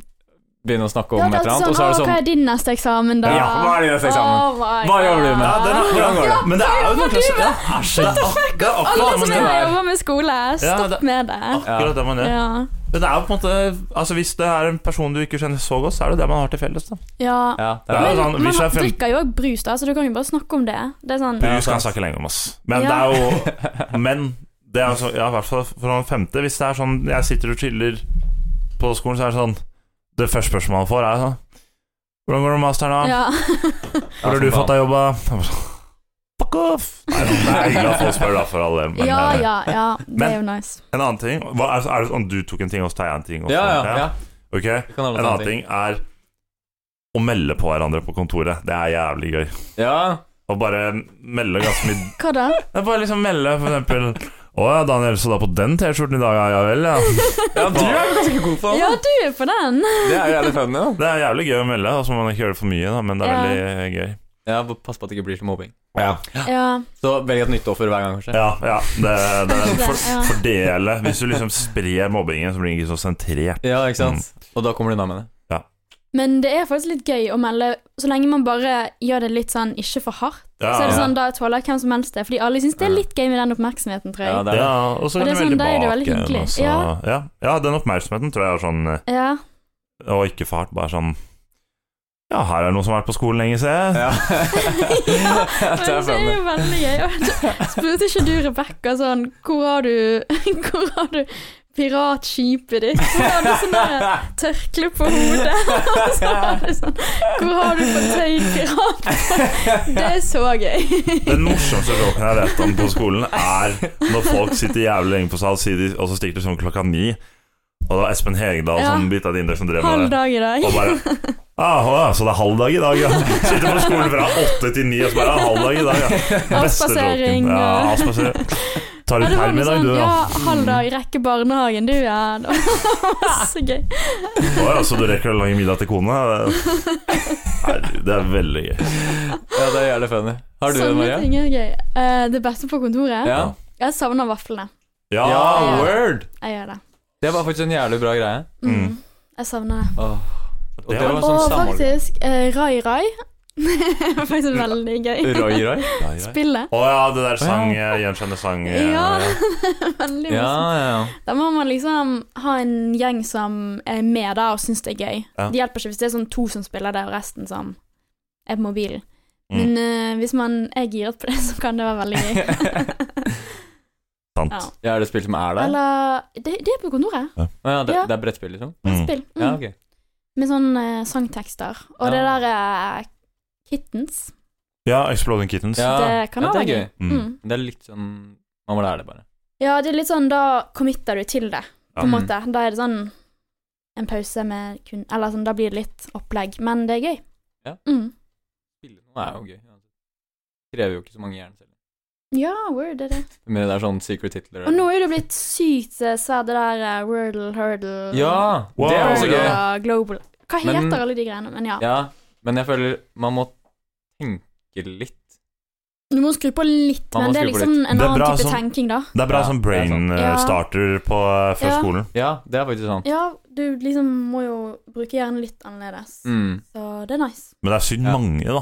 S3: begynne å snakke om
S2: Ja,
S3: et
S2: det er
S3: eller
S2: alltid
S3: annet. Og så
S2: sånn,
S3: er det
S2: «Å,
S3: sånn
S2: Hva er din neste eksamen, da?
S3: Ja, hva er din neste eksamen?
S2: Oh my
S3: Hva jobber du med?
S1: Ja, den er, hvordan går det? Men det er jo den klasse- ja, æsj, det er ak- det er
S2: Alle
S1: akkurat det
S2: som
S1: man
S2: er
S1: gjør.
S2: og jobber med skole,
S1: Ja,
S2: stopp
S1: det-
S2: med det.
S1: Akkurat det man gjør.
S2: Ja.
S1: Men det er jo på en måte Altså Hvis det er en person du ikke kjenner så godt, så er det det man har til felles. da
S2: ja.
S3: Ja, det
S1: Ja,
S3: er
S2: Men
S1: sånn,
S2: man
S1: hvis jeg er fem-
S2: drikker jo også brus, da, så du kan jo bare snakke om det. Det er sånn
S3: Ja,
S1: Brus kan
S3: sant.
S1: jeg snakke lenge om, ass. Men
S2: Ja.
S1: det er jo Men det er altså Ja, i hvert fall for den femte. Hvis det er sånn jeg sitter og chiller på skolen, så er det sånn Det første spørsmålet man får, er sånn Hvordan går det med masteren, da?
S2: Ja.
S1: Hvor har du fått deg jobba? Fuck off! Nei, det er hyggelig at folk spør, da, for all del. men,
S2: ja,
S1: eh,
S2: ja, ja. Det
S1: Men-
S2: er jo nice.
S1: En annen ting hva, er, er det sånn du tok en ting, og så tar jeg en ting? og så-
S3: Ja, ja. ja.
S1: Ok, En
S3: Det kan alle ta
S1: annen ting er å melde på hverandre på kontoret. Det er jævlig gøy.
S3: Ja.
S1: Å bare melde ganske mye
S2: Hva da?
S1: Det er Bare liksom melde, for eksempel. Å ja, Daniel så da på den T-skjorten i dag, ja, ja vel, ja.
S3: ja, du er ganske god på det.
S2: Ja, du er på den!
S3: Det er jo jævlig funny, da.
S1: Det er jævlig gøy å melde, og så må man ikke gjøre det for mye, da, men det er
S2: Ja.
S1: veldig gøy.
S3: Ja, bare Pass på at det ikke blir til mobbing.
S1: Ja,
S2: Ja.
S3: Så velg et nytt offer hver gang, kanskje.
S1: ja. det, det er for,
S2: Ja.
S1: fordele. Hvis du liksom sprer mobbingen, så blir den ikke så sentrert.
S3: Ja, ikke sant? Og da kommer du unna med det.
S2: Men det er faktisk litt gøy å melde, så lenge man bare gjør det litt sånn ikke for hardt.
S1: Ja.
S2: Så er det
S3: Ja.
S2: sånn, Da tåler hvem som helst det, fordi alle syns det er litt gøy med den oppmerksomheten, tror jeg.
S3: Ja,
S2: Ja,
S3: det er det.
S1: Ja, og så kan
S2: Og det
S1: du
S2: er sånn,
S1: velge
S2: da er det veldig
S1: bak igjen.
S2: hyggelig.
S1: og så-
S2: Ja.
S1: Ja. ja, den oppmerksomheten tror jeg er sånn eh, Og ikke fart, bare sånn Ja, her er noen som har vært på skolen lenge, se.
S3: Ja.
S2: men
S3: det
S2: det sånn
S3: er
S2: er
S3: funny.
S2: jo veldig gøy. Og så Spurte ikke du Rebekka sånn Hvor har du Hvor har du piratskipet ditt? Hvor har du sånn der tørkle på hodet? Og så var det sånn Hvor har du fått tøyd pirat? Det er så gøy.
S1: Den morsomste joken jeg vet om på skolen, er når folk sitter jævlig lenge på sal, sier de- og så stikker de sånn klokka ni, og det var Espen Hegedal
S2: Ja.
S1: som bit av et indeks som drev
S2: Halv
S1: med det.
S2: dag i dag.
S1: Og bare ah, å ja, Så det er halv dag i dag, ja. Sitter på skolen fra åtte til ni, og så bare ah, halv dag i dag, ja. Beste
S2: Avspasering,
S1: joken. Ja,
S2: og-
S1: avspasering. Tar
S2: Ja,
S1: du
S2: det var
S1: perm
S2: med
S1: i dag,
S2: sånn,
S1: du,
S2: ja.
S1: da?
S2: Halv dag, rekke barnehagen, du, ja. Det var så gøy.
S1: Å ja, så du rekker å lage middag til kona? Herregud, det er veldig gøy.
S3: ja, det er jævlig funny. Har du det,
S2: Sånne
S3: Maria?
S2: ting er gøy. Eh, det beste på kontoret?
S3: Ja.
S2: Jeg savner vaflene.
S1: Ja,
S3: ja,
S2: ja.
S3: word!
S2: Jeg gjør det.
S3: Det var faktisk en jævlig bra greie.
S2: Mm.
S1: Mm.
S2: Jeg savner det.
S3: Åh. Og
S1: Det
S3: det var
S1: var-
S3: sånn
S2: Og
S3: samhold...
S2: faktisk, eh, Rai Rai Faktisk veldig gøy.
S3: Roy, Roy?
S2: Spillet.
S1: Å ja, det der sang
S3: Å,
S1: eh, gjenkjennende sang eh,
S2: Ja, veldig
S3: Ja,
S2: morsomt.
S3: ja, ja.
S2: Da må man liksom ha en gjeng som er med da og syns det er gøy.
S1: Ja.
S2: Det hjelper ikke hvis det er sånn to som spiller det, og resten som er på mobilen.
S1: Mm.
S2: Men eh, hvis man er giret på det, så kan det være veldig gøy.
S1: Sant.
S2: Ja.
S3: ja, er det spill som er der?
S2: Eller det, det er på kontoret.
S3: Å ja, det,
S2: Ja.
S3: det er brettspill, liksom?
S1: Mm.
S2: Spill. Mm.
S3: Ja, ok.
S2: Med sånne eh, sangtekster. Og det
S3: Ja.
S2: der eh, Kittens.
S1: Ja, Exploding Kittens.
S3: Ja,
S2: Det kan
S3: ja,
S2: også
S3: det er
S2: være
S3: gøy.
S1: Mm.
S2: Mm.
S3: Det er litt sånn Man må lære det, bare.
S2: Ja, det er litt sånn da committer du til det,
S1: Ja.
S2: på
S3: Mm.
S2: en måte. Da er det sånn en pause med kun Eller sånn, da blir det litt opplegg, men det er gøy.
S3: Ja.
S2: Mm.
S3: Spille noe er jo gøy. uansett. Krever jo ikke så mange hjerneceller.
S2: Ja, Word er det.
S3: Men det er sånn secret hitler
S2: Og nå er det blitt sykt eh, svært det der eh, Wordle, Hurdle
S3: Ja!
S1: Wow.
S3: Det er også
S2: Wordle
S3: gøy.
S2: og Global Hva heter
S3: Men-
S2: alle de greiene? Men ja.
S3: Ja, men jeg føler man må tenke litt.
S2: Du må skru på litt,
S3: Man må
S2: men det er
S3: skru på
S2: liksom en
S1: Det er
S2: annen
S1: bra
S2: type
S1: sånn-
S2: tenking, da.
S1: Det er bra
S3: Ja,
S1: sånn
S3: det er sant.
S1: brain eh,
S2: Ja.
S1: starter på, eh, før
S2: Ja.
S1: skolen.
S3: Ja, det er faktisk sant.
S2: Ja, du liksom må jo bruke hjernen litt annerledes.
S3: Mm.
S2: Så det er nice.
S1: Men det er synd
S3: Ja.
S1: mange, da.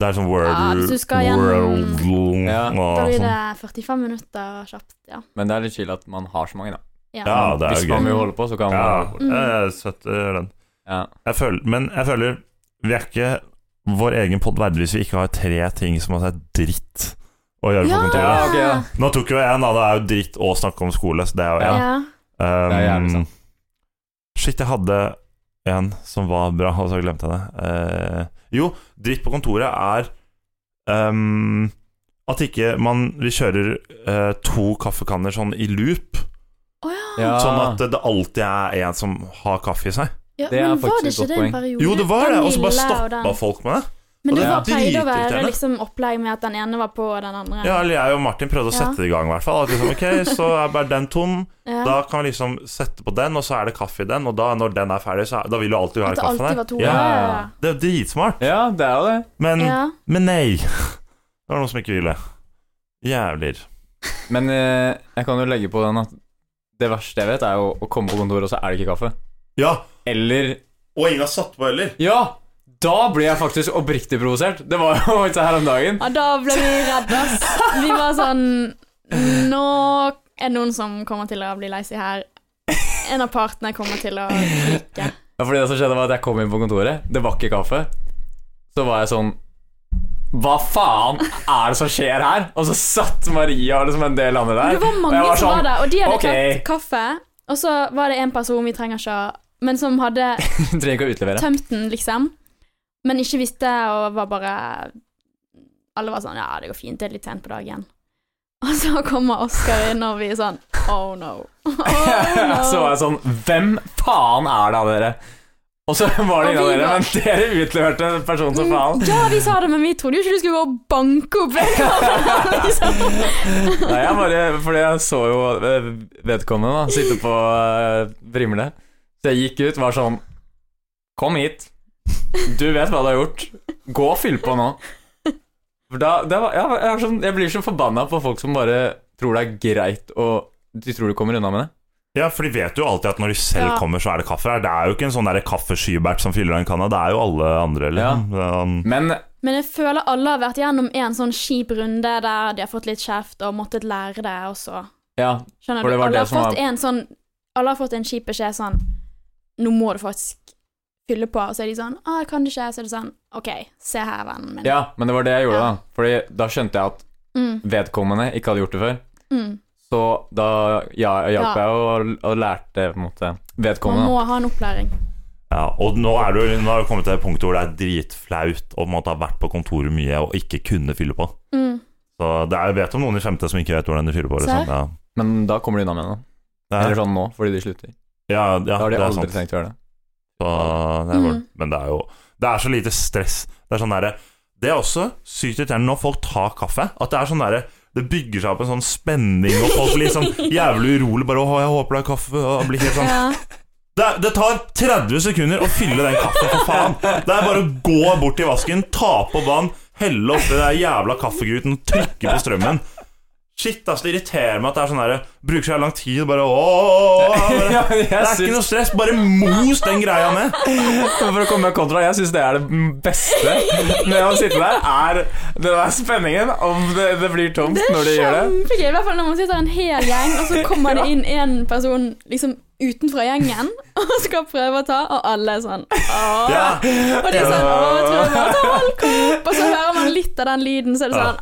S1: Det er sånn world,
S2: Ja, hvis du skal gjennom-
S1: world
S3: Ja.
S2: Da
S1: og
S2: blir
S1: sånn.
S2: det 45 minutter kjapt, ja.
S3: Men det er litt chill at man har så mange, da.
S2: Ja.
S1: Ja, det er
S3: Hvis
S1: jo
S3: man
S1: gøy.
S3: vil holde på, så kan man
S1: Ja,
S3: bare holde på.
S2: Mm.
S1: jeg støtter den.
S3: Ja.
S1: Jeg føler, men jeg føler vi er ikke vår egen pod verdig hvis vi ikke har tre ting som altså er dritt å gjøre på kontoret.
S3: Ja, ok, ja.
S1: Nå tok jo jeg en, da. Det er jo dritt å snakke om skole, så det er jo
S2: Ja.
S1: en.
S2: ja.
S1: Um,
S3: Det er jævlig sant.
S1: Shit, jeg hadde en som var bra, og så glemte jeg det. Eh, jo, dritt på kontoret er um, at ikke man Vi kjører eh, to kaffekanner sånn i loop,
S2: Å ja.
S3: Ja.
S1: sånn at det alltid er en som har kaffe i seg.
S2: ja.
S3: Det er
S2: Men var
S3: faktisk
S2: det
S3: et
S2: ikke
S3: godt
S2: det en
S3: poeng.
S2: periode?
S1: Jo, det var det,
S2: Den
S1: og så bare
S2: lille
S1: stoppa
S2: og den-
S1: folk med det.
S2: Men
S1: og
S2: det
S1: det
S2: var
S1: er
S2: pleide å være
S1: dritirriterende.
S2: liksom opplegg med at den ene var på, og den andre
S1: Ja, eller jeg og Martin prøvde å
S2: Ja.
S1: sette det i gang, i hvert fall. At liksom, ok, så er bare den tom,
S2: Ja.
S1: da kan vi liksom sette på den, og så er det kaffe i den, og da, når den er ferdig, så er, da vil du alltid ha
S2: At det
S1: kaffe
S2: alltid
S1: der.
S2: var to.
S1: Ja.
S2: Ja.
S1: Det er jo dritsmart,
S3: ja, det er jo det.
S1: men
S2: ja.
S1: Men nei! Det var noen som ikke ville. Jævler.
S3: Men eh, jeg kan jo legge på den at det verste jeg vet, er jo å komme på kontoret, og så er det ikke kaffe.
S1: Ja,
S3: Eller
S1: og ingen har satt på heller.
S3: Ja! Da ble jeg faktisk oppriktig provosert. Det var jo faktisk her om dagen.
S2: ja, da ble vi redde, ass. Vi var sånn Nå er det noen som kommer til å bli lei seg her. En av partene kommer til å klikke.
S3: Ja, fordi det som skjedde var at jeg kom inn på kontoret, det var ikke kaffe. Så var jeg sånn Hva faen er det som skjer her? Og så satt Maria og liksom en del andre der.
S2: Det var
S3: og jeg sånn,
S2: mange som var der, og de hadde
S3: ok.
S2: tatt kaffe. Og så var det en person vi trenger ikke å Men som hadde
S3: Du trenger ikke å utlevere.
S2: tømt den, liksom. Men ikke visste, og var bare Alle var sånn Ja, det går fint, det er litt sent på dagen. Og så kommer Oskar inn, og vi er sånn Oh no. Oh no.
S3: så var jeg sånn Hvem faen er det av dere? Og så var
S2: Og
S3: det ingen av
S2: vi
S3: dere,
S2: var-
S3: men dere utleverte personen
S2: Mm.
S3: som faen.
S2: Ja, vi sa det, men vi trodde jo ikke du skulle gå og banke opp vedkommende. Liksom.
S3: Nei, jeg bare Fordi jeg så jo eh, vedkommende da sitte på eh, Vrimle. Så jeg gikk ut, var sånn Kom hit. Du vet hva du har gjort. Gå og fyll på nå. For da, det var, jeg, jeg, er sånn, jeg blir så forbanna på folk som bare tror det er greit å De tror du kommer unna med det.
S1: Ja, for de vet jo alltid at når de selv
S2: Ja.
S1: kommer, så er det kaffe her. Det er jo ikke en sånn der kaffeskybert som fyller en kanne, det er jo alle andre, liksom. Sånn,
S3: Men
S2: Men jeg føler alle har vært gjennom en sånn kjip runde der de har fått litt kjeft og måttet lære det, og så
S3: ja,
S2: Skjønner
S3: For
S2: du?
S3: det var
S2: Alle
S3: det
S2: har,
S3: som
S2: fått
S3: var-
S2: en sånn, alle har fått en kjip beskjed sånn Nå må du faktisk fylle på. Og så er de sånn Å, jeg kan ikke. Så er det sånn OK, se her, vennen min.
S3: ja, men det var det jeg gjorde,
S2: Ja.
S3: da. Fordi da skjønte jeg at
S2: Mm,
S3: vedkommende ikke hadde gjort det før.
S2: mm.
S3: Så da ja, hjalp
S2: Ja.
S3: jeg og, og lærte på en måte
S2: Man
S3: vedkommende.
S2: må ha en opplæring.
S1: ja. Og nå er du nå har du kommet til et punkt hvor det er dritflaut å på en måte ha vært på kontoret mye og ikke kunne fylle på.
S2: Mm.
S1: Så det er, jeg vet om noen i femte som ikke vet hvordan de fyller på. Liksom. Ja.
S3: Men da kommer de unna med det.
S1: Det er-
S3: Eller sånn nå, fordi de slutter.
S1: ja, ja,
S3: Da har de
S1: det er
S3: aldri
S1: sant.
S3: tenkt å gjøre det.
S1: Så, det er,
S2: Mm.
S1: Men det er jo Det er så lite stress. Det er sånn derre Det er også sykt irriterende når folk tar kaffe. At det er sånn derre det bygger seg opp en sånn spenning, og folk blir sånn jævlig urolig. Bare 'Å, jeg håper det er kaffe.' Og blir helt sånn
S2: Ja.
S1: Det, det tar 30 sekunder å fylle den kaffen, for faen. Det er bare å gå bort til vasken, ta på vann, helle oppi den jævla kaffegruten, trykke på strømmen. Shit, ass, det irriterer meg at det er sånn derre Bruker så jævla lang tid, bare ååå
S3: Ja,
S1: Det
S3: jeg
S1: er
S3: syns-
S1: ikke noe stress, bare mos den greia ned.
S3: For å komme med kontra, jeg syns det er det beste med å sitte der, er den der spenningen om det, det blir tomt
S2: Det er
S3: når de gjør det.
S2: kjempegøy, i hvert fall når man sitter en hel gjeng, og så kommer det inn en person liksom utenfra gjengen og skal prøve å ta, og alle er sånn Åh.
S1: Ja.
S2: Og de er sånn Åh, jeg tror jeg må ta all kopp. Og så hører man litt av den lyden, så er det sånn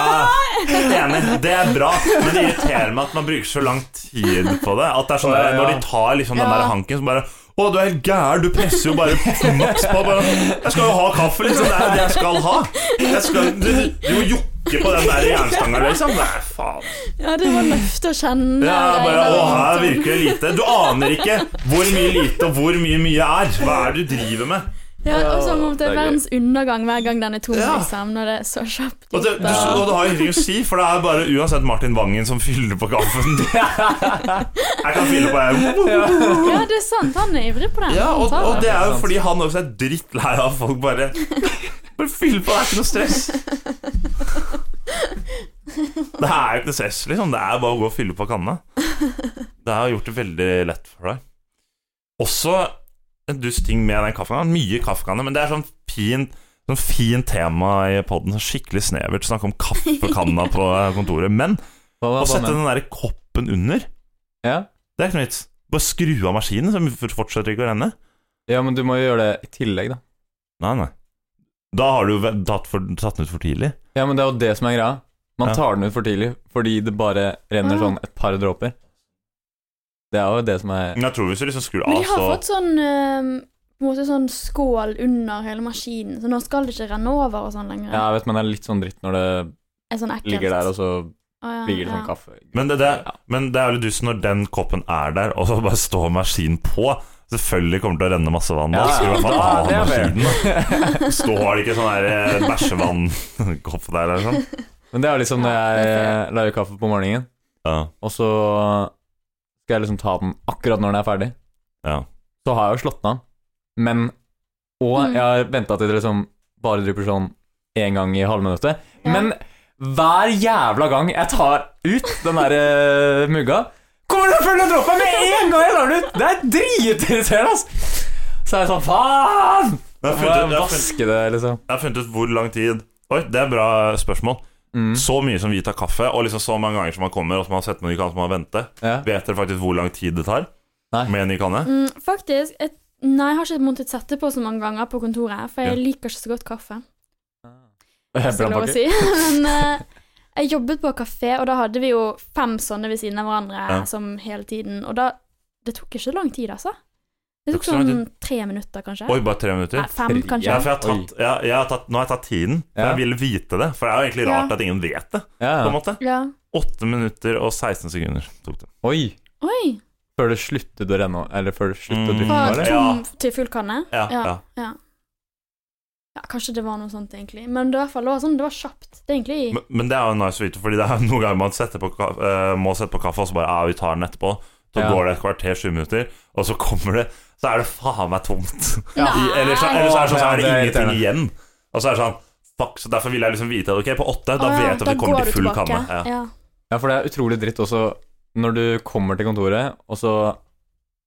S1: Ja, enig. Det er bra, men det irriterer meg at man bruker så lang tid på det. At det er sånn der, Når de tar liksom den
S2: Ja.
S1: der hanken, så bare Å, du er helt gæren, du presser jo bare maks på. Bare, jeg skal jo ha kaffe, liksom. Det er det jeg skal ha. Jeg skal, du, du må jokke på den der jernstanga, liksom. Nei, faen.
S2: Ja, det var løft å kjenne.
S1: Ja, bare, å, her virker det lite. Du aner ikke hvor mye lite og hvor mye mye er. Hva er det du driver med?
S2: Ja, og som om det
S3: Det
S2: er
S3: er gøy.
S2: verdens undergang hver gang den er tom,
S1: Ja.
S2: liksom. Når det er så kjapt
S1: Og det,
S2: gjort.
S1: du, og det har ingenting å si, for det er bare uansett Martin Vangen som fyller på kaffen. Jeg kan fylle på, jeg.
S2: Ja, det er sant. Han er ivrig på den.
S1: Ja, og,
S2: Han tar
S1: og det
S3: det er
S1: er jo
S3: sant.
S1: fordi han også er drittlei av at folk bare Bare fyll på, det er ikke noe stress. Det er jo ikke noe stress, liksom. Det er bare å gå og fylle på kanna. Det har gjort det veldig lett for deg. Også en dust ting med den kaffekannen. Mye kaffekanne, men det er sånn fint Sånn fint tema i poden. Skikkelig snevert. Snakke om kaffekanna på kontoret. Men å sette den der koppen under,
S3: ja.
S1: det er ikke noe vits. Bare skru av maskinen, så fortsetter det ikke å renne.
S3: ja, men du må jo gjøre det i tillegg, da.
S1: Nei, nei. Da har du vel tatt, for, tatt den ut for tidlig.
S3: Ja, men det er jo det som er greia. Man
S1: Ja.
S3: tar den ut for tidlig fordi det bare renner
S2: Ah.
S3: sånn et par dråper. Det er jo det som er
S1: Men jeg tror hvis du liksom skrur
S2: Men
S1: av,
S2: de har
S1: så
S2: fått sånn eh, på en måte sånn skål under hele maskinen, så nå skal det ikke renne over og sånn lenger.
S3: Ja, jeg vet, men det er litt sånn dritt når det
S2: Det er sånn ekkelt.
S3: ligger der, og så
S2: Å, ja,
S3: ligger det sånn
S2: ja.
S3: kaffe
S1: Men det- det-
S3: Ja.
S1: Men det er jo litt dust når den koppen er der, og så bare står maskinen på. Selvfølgelig kommer det til å renne masse vann. Da
S3: Ja,
S1: skrur du i hvert fall
S3: da-
S1: av
S3: det er fair.
S1: maskinen. da. Står det ikke sånn der eh, bæsjevannkopp der eller sånn?
S3: Men det er jo liksom når
S2: Ja, det
S3: jeg
S2: er
S3: eh, lager kaffe på morgenen,
S1: Ja.
S3: og så skal jeg liksom ta den akkurat når den er ferdig.
S1: ja.
S3: så har jeg jo slått den av. Men Og
S2: Mm.
S3: jeg har venta til det liksom bare drypper sånn én gang i halvminuttet.
S2: Ja.
S3: Men hver jævla gang jeg tar ut den der eh, mugga, kommer det fulle dråper med en gang jeg tar den ut! Det er dritirriterende, ass! Så er jeg sånn faen!
S1: Jeg har
S3: Må jeg
S1: funnet, jeg har funnet,
S3: vaske det, liksom?
S1: jeg har funnet ut hvor lang tid Oi, det er et bra spørsmål.
S3: Mm.
S1: Så mye som vi tar kaffe, og liksom så mange ganger som man kommer, og som man har sett med ny kanne, som man venter,
S3: Ja.
S1: vet dere faktisk hvor lang tid det tar
S3: Nei.
S1: med en ny kanne?
S2: Mm, faktisk et, Nei, jeg har ikke måttet sette på så mange ganger på kontoret, for jeg liker ikke så godt kaffe. hvis det er lov å
S3: Brannpakke.
S2: si. Men eh, jeg jobbet på kafé, og da hadde vi jo fem sånne ved siden av hverandre
S1: Ja.
S2: som hele tiden. Og da Det tok ikke lang tid, altså. Det
S1: Det
S2: tok
S1: tok så lang
S2: sånn tre minutter,
S3: Mm.
S2: kanskje.
S1: Oi, bare tre minutter?
S2: Nei, fem, kanskje.
S1: Ja, for jeg har tatt, ja, jeg har tatt, nå har jeg tatt tiden, for
S3: Ja.
S1: jeg ville vite det. For det er jo egentlig rart
S2: Ja.
S1: at ingen vet det.
S3: Ja.
S1: på en
S3: ja.
S1: måte.
S2: Ja.
S1: 8 minutter og 16 sekunder tok det.
S3: Oi.
S2: Oi!
S3: Før det sluttet å renne Eller før det sluttet å
S1: Mm.
S3: dryppe,
S2: Fra
S3: var det?
S2: tom til full kanne?
S1: Ja, ja.
S2: ja. Ja, Kanskje det var noe sånt, egentlig. Men det var, i hvert fall- det var sånn, det var kjapt. Det er egentlig
S1: Men, men det er jo nice å vite, Fordi det er jo noen ganger man setter på, ka- eh, må sette på kaffe, og så bare ja, vi tar den etterpå. Så
S3: Ja.
S1: går det et kvarter, 20 minutter, og så kommer det Så er det faen meg tomt.
S3: Ja.
S1: I, eller, så,
S2: Nei.
S1: eller så er det sånn så er det
S3: Ja, det er
S1: ingenting
S3: irriterende.
S1: igjen. Og så er det sånn Fuck, så Derfor vil jeg liksom vite det. Ok, på åtte, da
S2: Å, ja,
S1: vet jeg at vi
S2: da
S1: kommer
S2: går
S1: til
S2: du
S1: full
S2: tilbake.
S1: kanne. Ja.
S2: Ja.
S3: Ja, for det er utrolig dritt også når du kommer til kontoret, og så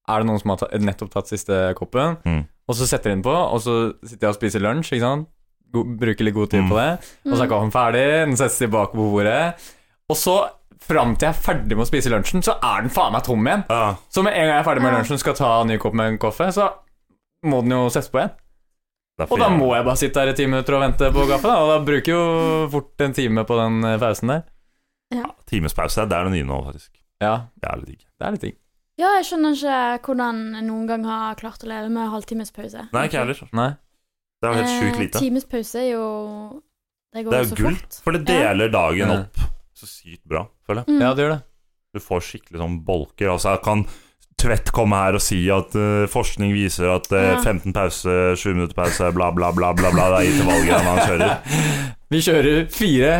S3: er det noen som har ta- nettopp tatt siste koppen,
S1: Mm.
S3: og så setter de den på, og så sitter jeg og spiser lunsj, ikke sant? Go bruker litt
S1: Mm.
S3: god tid på det, og
S2: Mm.
S3: så er kaffen ferdig, den settes tilbake på bordet, og så fram til jeg er ferdig med å spise lunsjen, så er den faen meg tom igjen.
S1: Ja.
S3: Så med en gang jeg er ferdig med
S2: Ja.
S3: lunsjen og skal ta en ny kopp med en kaffe, så må den jo settes på igjen.
S1: det er
S3: Og da
S1: for-
S3: må jeg bare sitte her i ti minutter og vente på kaffe, da, og da bruker jeg jo fort en time på den eh, pausen der.
S1: Timespause, det er det nye nå, faktisk.
S3: Ja,
S1: Det er litt digg.
S3: det er litt digg.
S2: Ja, jeg skjønner ikke hvordan jeg noen gang har klart å leve med halvtimes pause.
S1: Nei, ikke jeg heller.
S3: Nei.
S1: Det er jo helt sjukt lite.
S2: Eh, Times pause er jo Det går
S1: Det er
S2: jo
S1: jo
S2: så
S1: gull,
S2: fort.
S1: for det deler dagen
S3: Ja.
S1: opp så sykt bra, føler jeg.
S2: Mm.
S3: Ja, det gjør det.
S1: Du får skikkelig sånn bolker. Altså, jeg kan Tvedt komme her og si at eh, forskning viser at eh,
S2: Ja.
S1: 15 pause, 7 minutter pause, bla, bla, bla, bla, bla. Det er intervallgreiene han kjører.
S3: Vi kjører fire,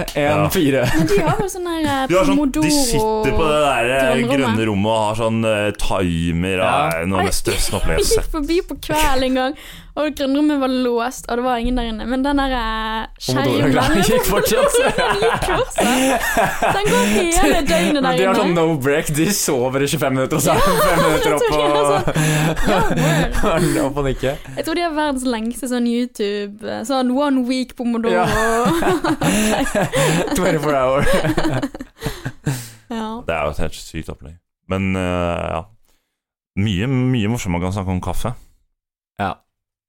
S1: Ja.
S3: en, fire.
S2: Men de har vel sånn der eh,
S1: De, har sånn, de sitter på det der eh,
S2: Grønnrommet.
S1: grønne rommet og har sånn eh, timer. Ja.
S3: Ja.
S1: Det er noe av det største
S2: Jeg
S1: opplevelsen.
S2: gikk forbi på kveld en gang, og grønnrommet var låst, og det var ingen der inne. Men den der eh, skjermen
S3: Pomodoro-reklamen
S2: den
S3: gikk fortsatt.
S2: gikk fortsatt. Den går hele døgnet
S3: Men
S2: der
S3: de har sånn
S2: inne.
S3: no break, de sover i 25 minutter, og så er det fem minutter opp og,
S2: Ja, word.
S3: opp og nikke.
S2: jeg tror de har verdens lengste sånn YouTube eh, Sånn one week pomodoro.
S3: Ja.
S2: Ja.
S3: 24 hour.
S1: Det er jo et helt sykt opplegg. Men eh, ja. Mye mye morsommere kan snakke om kaffe.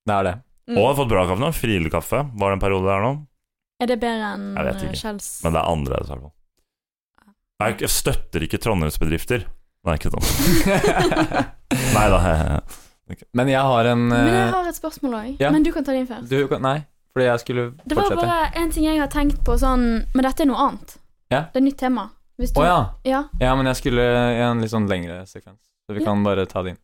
S3: Det er det.
S2: Mm.
S1: Og jeg har fått bra kaffe nå. Friele-kaffe var det en periode der nå.
S2: Er det bedre enn
S1: Jeg vet
S2: eh,
S1: ikke.
S2: Kjells?
S1: Men det er annerledes, i hvert fall. Nei, Jeg støtter ikke Trondheimsbedrifter. Nei, ikke sånn. Nei da.
S3: Men jeg har en
S2: Men jeg
S3: eh,
S2: har et spørsmål òg.
S3: ja.
S2: Men du kan ta det inn først.
S3: du, kan- Nei, fordi jeg skulle
S2: Det var
S3: fortsette.
S2: bare en ting jeg har tenkt på sånn Men dette er noe annet.
S3: Ja.
S2: Det er nytt tema. Hvis
S3: Å
S2: du
S3: ja.
S2: Ja,
S3: ja, men jeg skulle i en litt sånn lengre sekvens. Så vi
S2: Ja.
S3: kan bare ta det inn.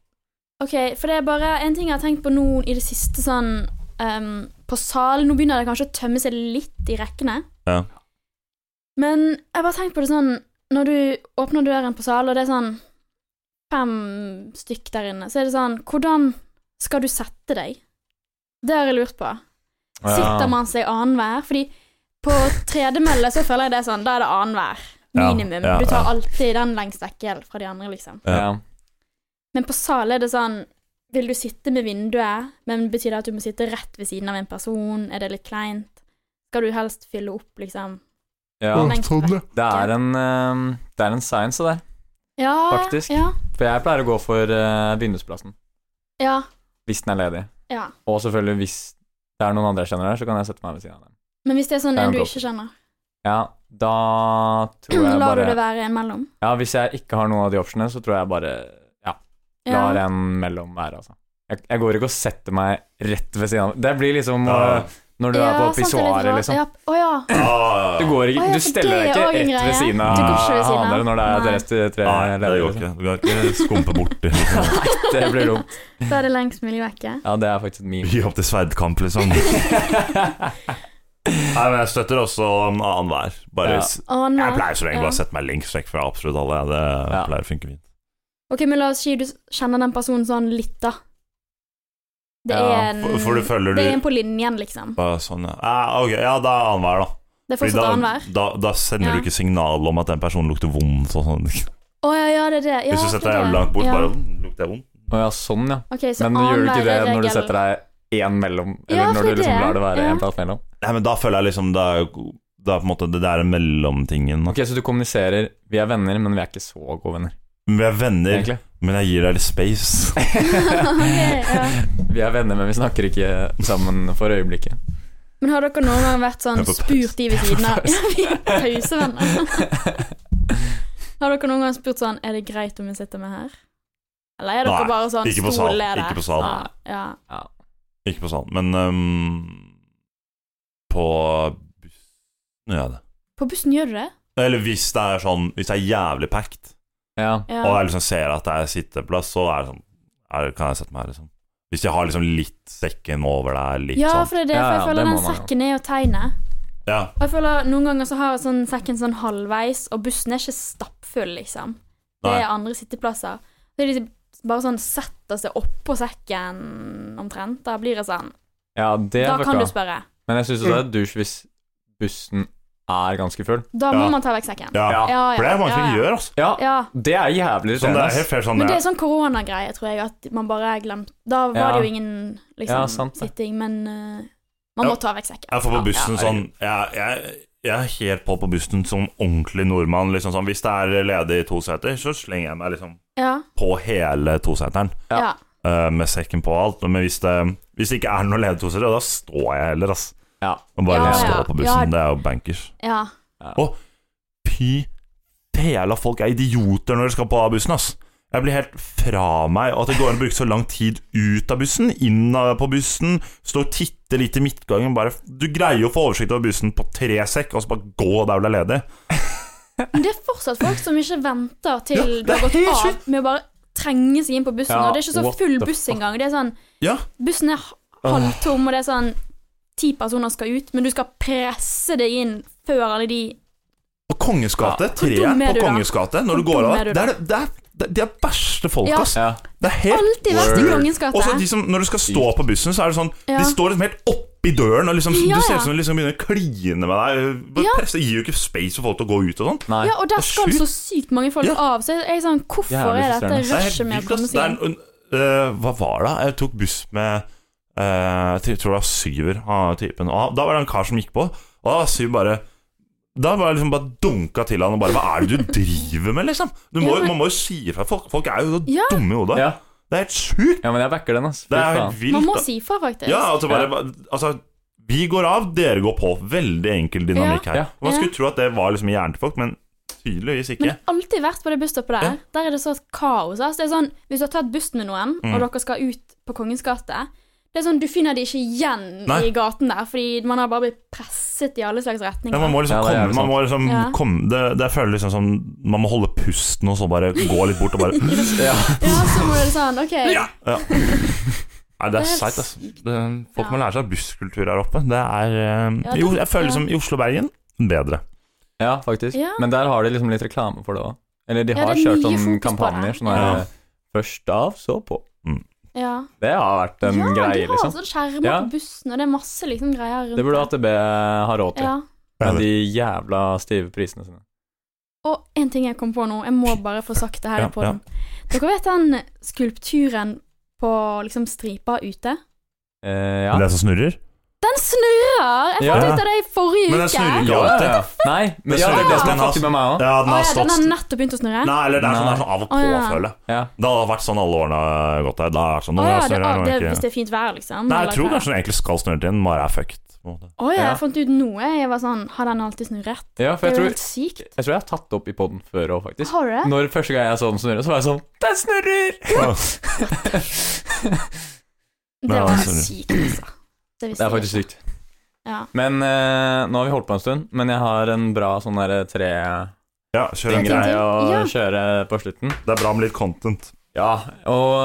S2: Ok, for det er bare en ting jeg har tenkt på nå i det siste sånn ehm, På salen, nå begynner det kanskje å tømme seg litt i rekkene.
S1: Ja.
S2: Men jeg har bare tenkt på det sånn Når du åpner døren på salen, og det er sånn fem stykk der inne, så er det sånn Hvordan skal du sette deg? Det har jeg lurt på.
S3: Å, ja.
S2: Sitter man seg annenhver? Fordi på tredemølle så føler jeg det er sånn, da er det annenhver.
S1: Ja,
S2: Minimum.
S1: ja,
S2: du tar
S1: ja.
S2: alltid den lengst vekk fra de andre, liksom.
S3: Ja.
S2: Men på sal er det sånn Vil du sitte med vinduet, men betyr det at du må sitte rett ved siden av en person? Er det litt kleint? Skal du helst fylle opp, liksom?
S3: ja.
S2: lengst vekk?
S3: Det er en, eh, det er en science, det der.
S2: Ja,
S3: Faktisk.
S2: Ja,
S3: For jeg pleier å gå for eh, vindusplassen.
S2: ja,
S3: Hvis den er ledig.
S2: ja.
S3: Og selvfølgelig, hvis det er noen andre jeg kjenner der, så kan jeg sette meg ved siden av dem.
S2: Men hvis det er sånn
S3: Det er
S2: en
S3: en
S2: du
S3: blokk.
S2: ikke kjenner,
S3: Ja, da tror jeg
S2: lar du det
S3: bare
S2: være en mellom?
S3: Ja, hvis jeg ikke har noen av de optionene, så tror jeg bare ja,
S2: Ja.
S3: lar en mellom være, altså. Jeg, jeg går ikke og setter meg rett ved siden av Det blir liksom
S1: Ja.
S3: eh, når du er på pissoaret, liksom.
S2: Ja. Å ja.
S1: Ah,
S3: Du, går ikke,
S2: Å, ja,
S3: du
S2: for
S3: steller
S2: det
S3: deg
S2: er
S3: ikke
S2: også en
S3: rett ved
S2: greie.
S3: siden av
S2: Du går ikke ved siden av.
S3: han når det er
S2: Nei.
S3: deres tre
S1: Nei, det
S3: ledere,
S1: går
S3: liksom.
S1: ikke. Du kan ikke skumpe liksom. borti.
S3: Det blir dumt.
S2: Da er det lengst mulig vekke.
S3: Ja, det er faktisk et meme.
S1: Gi opp til sverdkamp, liksom. Nei, men jeg støtter også annenhver. Bare
S3: Ja.
S1: s-
S2: Å nei.
S1: Jeg pleier som regel
S2: Ja.
S1: bare å sette meg lengst vekk fra absolutt alle. Det
S3: Ja.
S1: pleier å funke fint.
S2: Ok, men la oss si du kjenner den personen sånn litt, da. Det er
S3: Ja,
S2: en
S1: For, for du følger
S2: Mm. Det er en
S1: du
S2: på linjen, liksom.
S1: Bare sånn, ja. Ah, ok, ja, da er annenhver, da.
S2: Det er
S1: Fordi
S2: fortsatt
S1: da,
S2: annenhver.
S1: da, da sender
S2: Ja.
S1: du ikke signal om at den personen lukter vondt og sånn.
S2: Å ja, ja, det er det. Ja,
S1: Hvis du
S2: det
S1: setter
S2: er
S1: deg
S2: det.
S1: langt bort,
S2: ja.
S1: bare «Hm, lukter jeg vondt.
S3: Å ja, sånn, ja.
S2: Ok, så
S3: Men gjør du ikke
S2: annenhver
S3: det
S2: er
S3: når du
S2: regel.
S3: setter deg én mellom, eller
S2: Ja,
S3: når
S2: for
S3: du liksom
S2: det,
S3: lar det være
S2: ja.
S3: en plass mellom?
S1: Nei, men da føler jeg liksom Da er jo- da er på en måte det der mellomtingen. da.
S3: Ok, Så du kommuniserer 'vi er venner, men vi er ikke så gode venner',
S1: Vi er venner,
S3: egentlig.
S1: men jeg gir deg litt space.
S2: Ok, ja.
S3: Vi er venner, men vi snakker ikke sammen for øyeblikket.
S2: Men har dere noen gang vært sånn
S1: Jeg er på pause.
S2: spurt de ved siden av Ja, vi er Sånn. pausevenner. Har dere noen gang spurt sånn Er det greit om jeg sitter med her? Eller er dere
S1: Nei,
S2: bare sånn
S1: ikke på sal.
S2: stoler der?
S1: Ikke på sal.
S2: Ja,
S1: Ikke på salen, men øhm, På bussen gjør jeg det.
S2: ja. På bussen gjør du det?
S1: Eller hvis det er sånn Hvis det er jævlig packed,
S3: Ja.
S2: Ja.
S1: og jeg liksom ser at det er sitteplass, så er det sånn er, Kan jeg sette meg her, liksom? Hvis de har liksom litt sekken over deg, litt
S2: ja,
S1: sånn
S2: for det er det.
S3: Ja,
S2: For
S3: ja,
S2: jeg
S3: det
S2: føler
S3: må
S2: den
S3: man jo.
S2: sekken er jo tegnet.
S1: Ja,
S2: Og jeg føler Noen ganger så har jeg sånn sekken sånn halvveis, og bussen er ikke stappfull, liksom. Det
S1: Nei.
S2: er andre sitteplasser. Så de bare sånn setter seg oppå sekken omtrent. Da blir det sånn.
S3: ja, det
S2: Da
S3: er
S2: kan du
S3: fucka.
S2: spørre.
S3: Men jeg syns det er douche hvis bussen er ganske full.
S2: Da må
S1: Ja.
S2: man ta vekk sekken.
S1: Ja.
S3: Ja.
S2: Ja,
S1: For det er mange
S2: ja,
S1: som
S2: ja.
S1: gjør, altså.
S3: Ja,
S2: Ja.
S3: det er jævlig
S1: Sånn, det
S3: irriterende.
S1: er
S3: ass.
S1: helt fair sånn
S2: Men det
S1: det
S2: er
S1: er.
S2: sånn koronagreie, tror jeg, at man bare glemte Da var
S3: Ja.
S2: det jo ingen liksom,
S3: Ja, sant det.
S2: sitting, men eh, man
S1: Ja.
S2: må ta vekk sekken.
S1: Jeg får på
S2: Ja.
S1: bussen
S3: Ja.
S1: sånn jeg, jeg, jeg er helt på på bussen som ordentlig nordmann. Liksom sånn, hvis det er ledig to seter, så slenger jeg meg liksom
S2: Ja.
S1: på hele toseteren.
S2: Ja.
S3: Ja.
S1: eh, med sekken på og alt. Men hvis det, hvis det ikke er noe ledig toseter, da står jeg heller, ass.
S3: Ja.
S1: Og bare
S2: Ja,
S1: stå
S2: ja.
S1: på bussen.
S2: Ja.
S1: Det er jo bankers.
S2: ja.
S1: Fy fela, folk er idioter når de skal på bussen, ass. Jeg blir helt fra meg og at det går an å bruke så lang tid ut av bussen, inn av- på bussen, stå og titte litt i midtgangen bare, Du greier jo å få oversikt over bussen på tre sekk, og så bare gå der hvor det er ledig.
S2: Men det er fortsatt folk som ikke venter til
S1: Ja,
S2: det,
S1: det er
S2: har gått
S1: helt
S2: av,
S1: sjukt.
S2: med å bare trenge seg inn på bussen.
S3: Ja,
S2: og det er ikke så
S3: what
S2: full
S3: the
S2: buss
S3: fuck?
S2: engang. Det er sånn,
S1: Ja.
S2: bussen er h- halvtom, og det er sånn ti personer skal ut, men du skal presse deg inn før alle de
S1: Og Kongens gate,
S2: Hvor dum
S1: treeren
S2: er du
S1: på
S2: da?
S1: Kongens gate, når du
S2: Hvor
S1: går
S2: dum
S1: av
S2: er du
S1: Det er det er- det er de verste folk,
S2: Ja.
S1: ass.
S3: Ja.
S1: Det er helt
S2: Alltid vært i
S3: Word.
S2: Kongens
S1: Og så
S2: gate.
S1: de som, når du skal stå på bussen, så er det sånn
S2: Ja.
S1: De står liksom helt oppi døren, og liksom,
S2: Ja,
S1: du ser
S2: ja.
S1: ut som de liksom begynner å kline med deg. Bare
S2: Ja.
S1: presse, gir jo ikke space for folk til å gå ut og sånn.
S3: Nei.
S2: Ja,
S1: det
S2: og der
S1: er
S2: skal
S1: sjukt.
S2: så sykt mange folk
S1: Ja.
S2: av, så jeg er sånn Hvorfor
S3: Jævlig
S2: er dette
S3: frustrerende.
S1: Det er
S2: rushet
S1: helt
S2: med
S1: vilt.
S2: å komme
S1: ass.
S2: seg
S1: Det er
S2: inn?
S1: en- øh, hva var det? Jeg tok buss med øh, jeg tror det var Syver, han typen. Og da var det en kar som gikk på, og da var Syver bare da var jeg liksom bare dunka til han og bare Hva er det du driver med, liksom? Du må,
S2: Ja, men-
S1: Man må jo si ifra. Folk, folk er jo så
S2: Ja.
S1: dumme i hodet.
S3: Ja.
S1: Det er helt sjukt.
S3: ja, men jeg backer den, ass. Fy
S1: Det er
S3: faen.
S1: helt vilt.
S2: Man må
S1: da.
S2: si fra, faktisk.
S1: Ja, altså bare Altså, vi går av, dere går på. Veldig enkel dynamikk her.
S3: Ja.
S1: Og Man
S2: Ja.
S1: skulle tro at det var liksom i hjernen til folk, men tydeligvis ikke.
S2: Men alltid vært på det busstoppet der.
S1: Ja.
S2: Der er det så kaos. Altså. Det er sånn, hvis du har tatt bussen med noen,
S1: Mm.
S2: og dere skal ut på Kongens gate Det er sånn, Du finner de ikke igjen
S1: Nei.
S2: i gaten der, fordi man har bare blitt presset i alle slags retninger.
S1: ja, man må liksom
S3: Ja, det er
S1: komme,
S3: jævlig
S1: man må liksom
S2: Ja.
S1: komme det, det føles liksom som man må holde pusten og så bare gå litt bort og bare
S3: Ja.
S2: Ja, så må det sånn, ok
S1: Ja! ja. Nei, det
S2: Det
S1: er
S2: er helt
S1: seigt, altså. Det- Folk må
S2: Ja.
S1: lære seg busskultur her oppe. Det er eh,
S2: Ja, det-
S1: Jo, jeg føler
S2: ja.
S1: som i Oslo-Bergen bedre.
S3: ja, faktisk.
S2: Ja.
S3: Men der har de liksom litt reklame for det òg. Eller de
S2: Ja,
S3: har
S2: det er
S3: kjørt
S2: mye
S3: sånne
S2: fokus på
S3: kampanjer.
S2: det.
S3: Sånn
S1: Ja.
S3: der, Først av, så på.
S2: Ja,
S3: Det har vært en
S2: ja
S3: greie,
S2: de har
S3: liksom.
S2: sånn skjermer
S3: Ja.
S2: på bussen, og det er masse liksom greier rundt
S3: Det burde AtB ha råd til,
S2: Ja.
S3: med de jævla stive prisene sine.
S2: Og en ting jeg kom på nå, jeg må bare få sagt det her
S1: Ja,
S2: i poden. Dere vet den skulpturen på liksom stripa ute?
S3: Eh, ja.
S1: Er Det som snurrer?
S2: Den snurrer! Jeg fant
S1: Ja.
S2: ut av det i forrige
S1: Men
S2: uke.
S1: den snurrer ikke
S3: Ja,
S1: alltid.
S3: ja. Nei, men
S1: Den
S3: ja, det er
S1: snurrer.
S3: det som
S1: Den
S3: er
S1: har-
S3: fattig med meg òg.
S1: Ja, den
S2: Å
S1: har
S2: ja, den
S1: stått
S2: har nettopp begynt å snurre?
S1: Nei, eller det er sånn, det
S3: Nei.
S1: er sånn av og
S2: Å, ja.
S1: på-følge.
S3: Ja.
S1: Det hadde vært sånn alle årene jeg har gått der. Da er det sånn, nå
S2: Å ja,
S1: er jeg
S2: det,
S1: snurrer, nå
S2: ah,
S1: er
S2: det,
S1: jeg ikke-
S2: hvis det er fint vær, liksom.
S1: Nei, jeg
S2: eller
S1: tror
S2: hva?
S1: kanskje den egentlig skal snurre til den, bare er fucked. på en måte.
S2: Å ja,
S3: Ja.
S2: jeg fant ut noe. Jeg var sånn Har den alltid snurret?
S3: ja,
S2: Det
S3: for
S2: er
S3: jeg
S2: jo
S3: tror,
S2: helt sykt.
S3: jeg tror jeg har tatt det opp i poden før òg, faktisk.
S2: Har du det?
S3: Når første gang jeg så den snurre, så var jeg sånn Den snurrer!
S1: Nei,
S2: Det var
S1: sorry.
S2: helt sykt, altså. Det,
S3: Det
S2: visste
S3: er
S2: jeg
S3: faktisk
S2: ikke.
S3: sykt.
S2: Ja.
S3: Men eh, nå har vi holdt på en stund, men jeg har en bra sånn derre tre-greie
S1: Ja, kjør en
S2: Jeg
S1: greie.
S2: tenkte-
S3: å
S2: Ja.
S3: kjøre på slutten.
S1: Det er bra med litt content.
S3: Ja, og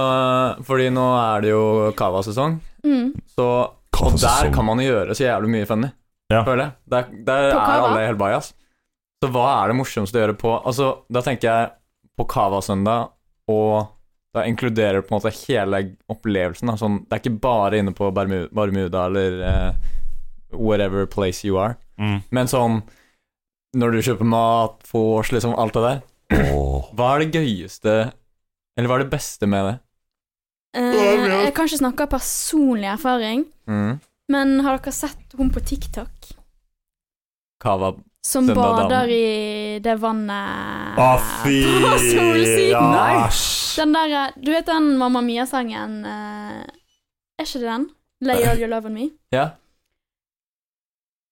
S3: eh, fordi nå er det jo Cava-sesong,
S2: Mm.
S3: så Og der kan man jo gjøre så jævlig mye funny,
S1: Ja.
S3: føler jeg. Der, der
S2: På
S3: er
S2: Kava?
S3: alle helt bajas. Så hva er det morsomste å gjøre på Altså, da tenker jeg på Cava-søndag, og da inkluderer det på en måte hele opplevelsen. Da. Sånn, det er ikke bare inne på Bermu- Bermuda eller eh, whatever place you are,
S1: Mm.
S3: men sånn når du kjøper mat, vors, liksom alt det der.
S1: Åh.
S3: Hva er det gøyeste Eller hva er det beste med det?
S2: Eh, jeg kan ikke snakke av personlig erfaring,
S3: Mm.
S2: men har dere sett hun på TikTok
S3: Kava
S2: som
S3: Søndag
S2: bader
S3: dagen.
S2: i det vannet
S1: Å, Ah, fy
S2: På solsiden!
S1: Ja,
S3: Nei.
S1: æsj.
S2: Den derre Du vet den Mamma Mia-sangen eh, Er ikke det den? Lay all your love on me?
S3: Ja.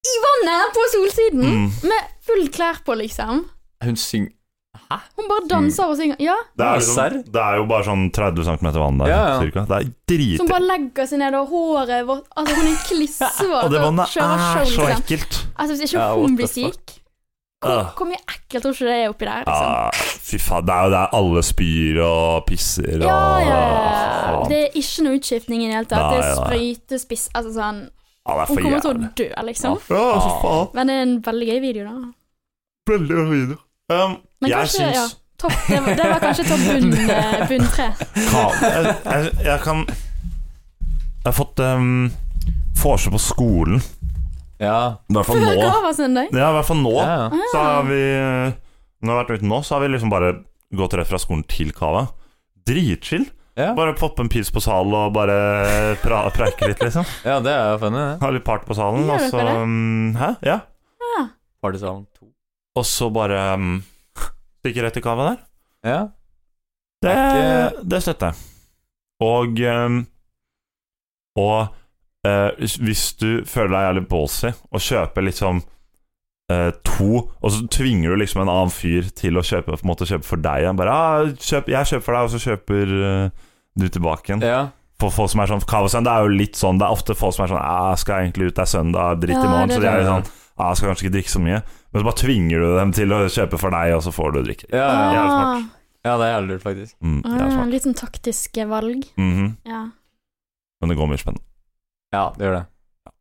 S2: I vannet på solsiden!
S1: Mm.
S2: Med full klær på, liksom.
S3: Hun synger
S2: Hun bare danser
S1: Mm.
S2: og synger. Ja,
S1: Det, er
S3: Serr?
S1: liksom, det er jo bare sånn 30 cm vann der,
S3: Ja, ja.
S1: cirka. Det er
S2: Som
S1: drit...
S2: bare legger seg ned, og håret vårt Altså, hun er klissvåt.
S1: Og det Ah, vannet
S2: kjører
S1: er
S2: show,
S1: så
S2: liksom.
S1: ekkelt.
S2: Altså, hvis ikke
S3: Ja, what
S2: hun blir
S3: the fuck.
S2: syk
S1: Ah.
S2: Hvor mye ekkelt tror ikke det er oppi der, liksom?
S1: Ah, fy faen, det er jo der alle spyr og pisser og
S2: Ja, ja, ja.
S1: ah, Faen.
S2: Det er ikke noe utskiftning i det hele tatt.
S1: Nei,
S2: Det er
S1: nei.
S2: sprøytespiss Altså sånn
S1: Ja, det er
S2: Hun
S1: for
S2: kommer til
S1: jævlig.
S2: å dø, liksom.
S1: Ja, så faen.
S2: Men det er en veldig gøy video, da.
S1: Veldig bra video. Um,
S2: Men
S1: jeg
S2: kanskje,
S1: syns
S2: ja Topp, det, var, det var kanskje topp bunn, eh, bunn tre.
S1: Faen, jeg, jeg, jeg kan Jeg har fått um, vorse på ehm, skolen
S3: Ja.
S1: I hvert fall
S2: Før
S1: nå.
S2: Gravasøndag?
S1: Ja, i hvert fall nå.
S3: ja, ja.
S1: Så har vi eh, Når vi har vært ute nå, så har vi liksom bare gått rett fra skolen til kava. Dritchill.
S3: Ja.
S1: Bare poppe en pils på salen og bare pra preike litt, liksom.
S3: ja, det er jo funny, det.
S1: Ha litt part på salen,
S2: Gjør
S1: og
S2: dere
S1: så
S2: det?
S1: mm, Hæ? Ja.
S2: Ja.
S3: Partysalen 2.
S1: Og så bare um, stikke rett i kava der.
S3: Ja.
S1: Det,
S3: Er
S1: det støtter jeg. eh, Og um, Og eh, hvis- hvis du føler deg jævlig ballsy og kjøper liksom eh, to, og så tvinger du liksom en annen fyr til å kjøpe, på en måte kjøpe for deg. Han Bare, ah, kjøp, 'Jeg kjøper for deg', og så kjøper eh, du tilbake igjen.
S3: ja.
S1: For folk som er sånn Kavasønn, det er jo litt sånn Det er ofte folk som er sånn «Ah, 'Jeg skal egentlig ut, det er søndag, dritt
S2: Ja,
S1: i morgen',
S2: det
S1: så de er jo
S3: er det.
S1: sånn «Ah, 'Jeg skal kanskje ikke drikke så mye', men så bare tvinger du dem til å kjøpe for deg, og så får du drikke.
S3: Ja, ja, ja.
S1: Jævlig
S2: Ah,
S1: smart.
S3: ja, det er jævlig lurt, faktisk.
S1: Mm, det er
S2: ah,
S1: smart.
S2: litt sånn taktiske valg.
S3: Ah.
S1: Mhm.
S2: Ja.
S1: Men det går mye spennende.
S3: Ja, det gjør det.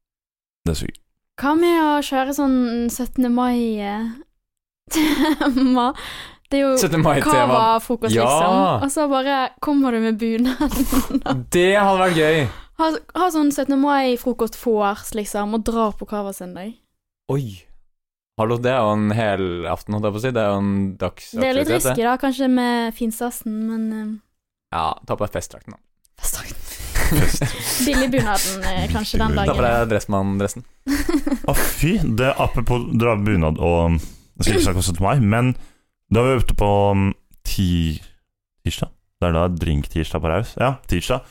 S1: Det suger.
S2: Hva med å kjøre sånn 17. mai-tema? Det er jo
S3: 17. mai-tema.
S2: cava-frokost,
S3: Ja.
S2: liksom. Og så bare kommer du med bunaden.
S3: Det hadde vært gøy!
S2: ha, ha sånn 17. mai-frokost vors, liksom, og dra på cava-søndag.
S3: Oi. Hallo, det er jo en hel aften, holdt jeg på å si. Det er jo en dagsaktivitet.
S2: Det er litt
S3: det.
S2: risky, da, kanskje med finstasen, men eh,
S3: Ja, ta på deg festdrakten, da.
S2: best sagt. Billigbunaden eh, kanskje den
S3: Ta på
S2: dagen.
S3: deg Dressmann-dressen.
S1: Å, fy! Det er apropos dra bunad og um, Jeg skal ikke snakke om 17. mai, men da var vi ute på um, ti, tirsdag. Det er da drink-tirsdag på Raus. Ja, tirsdag.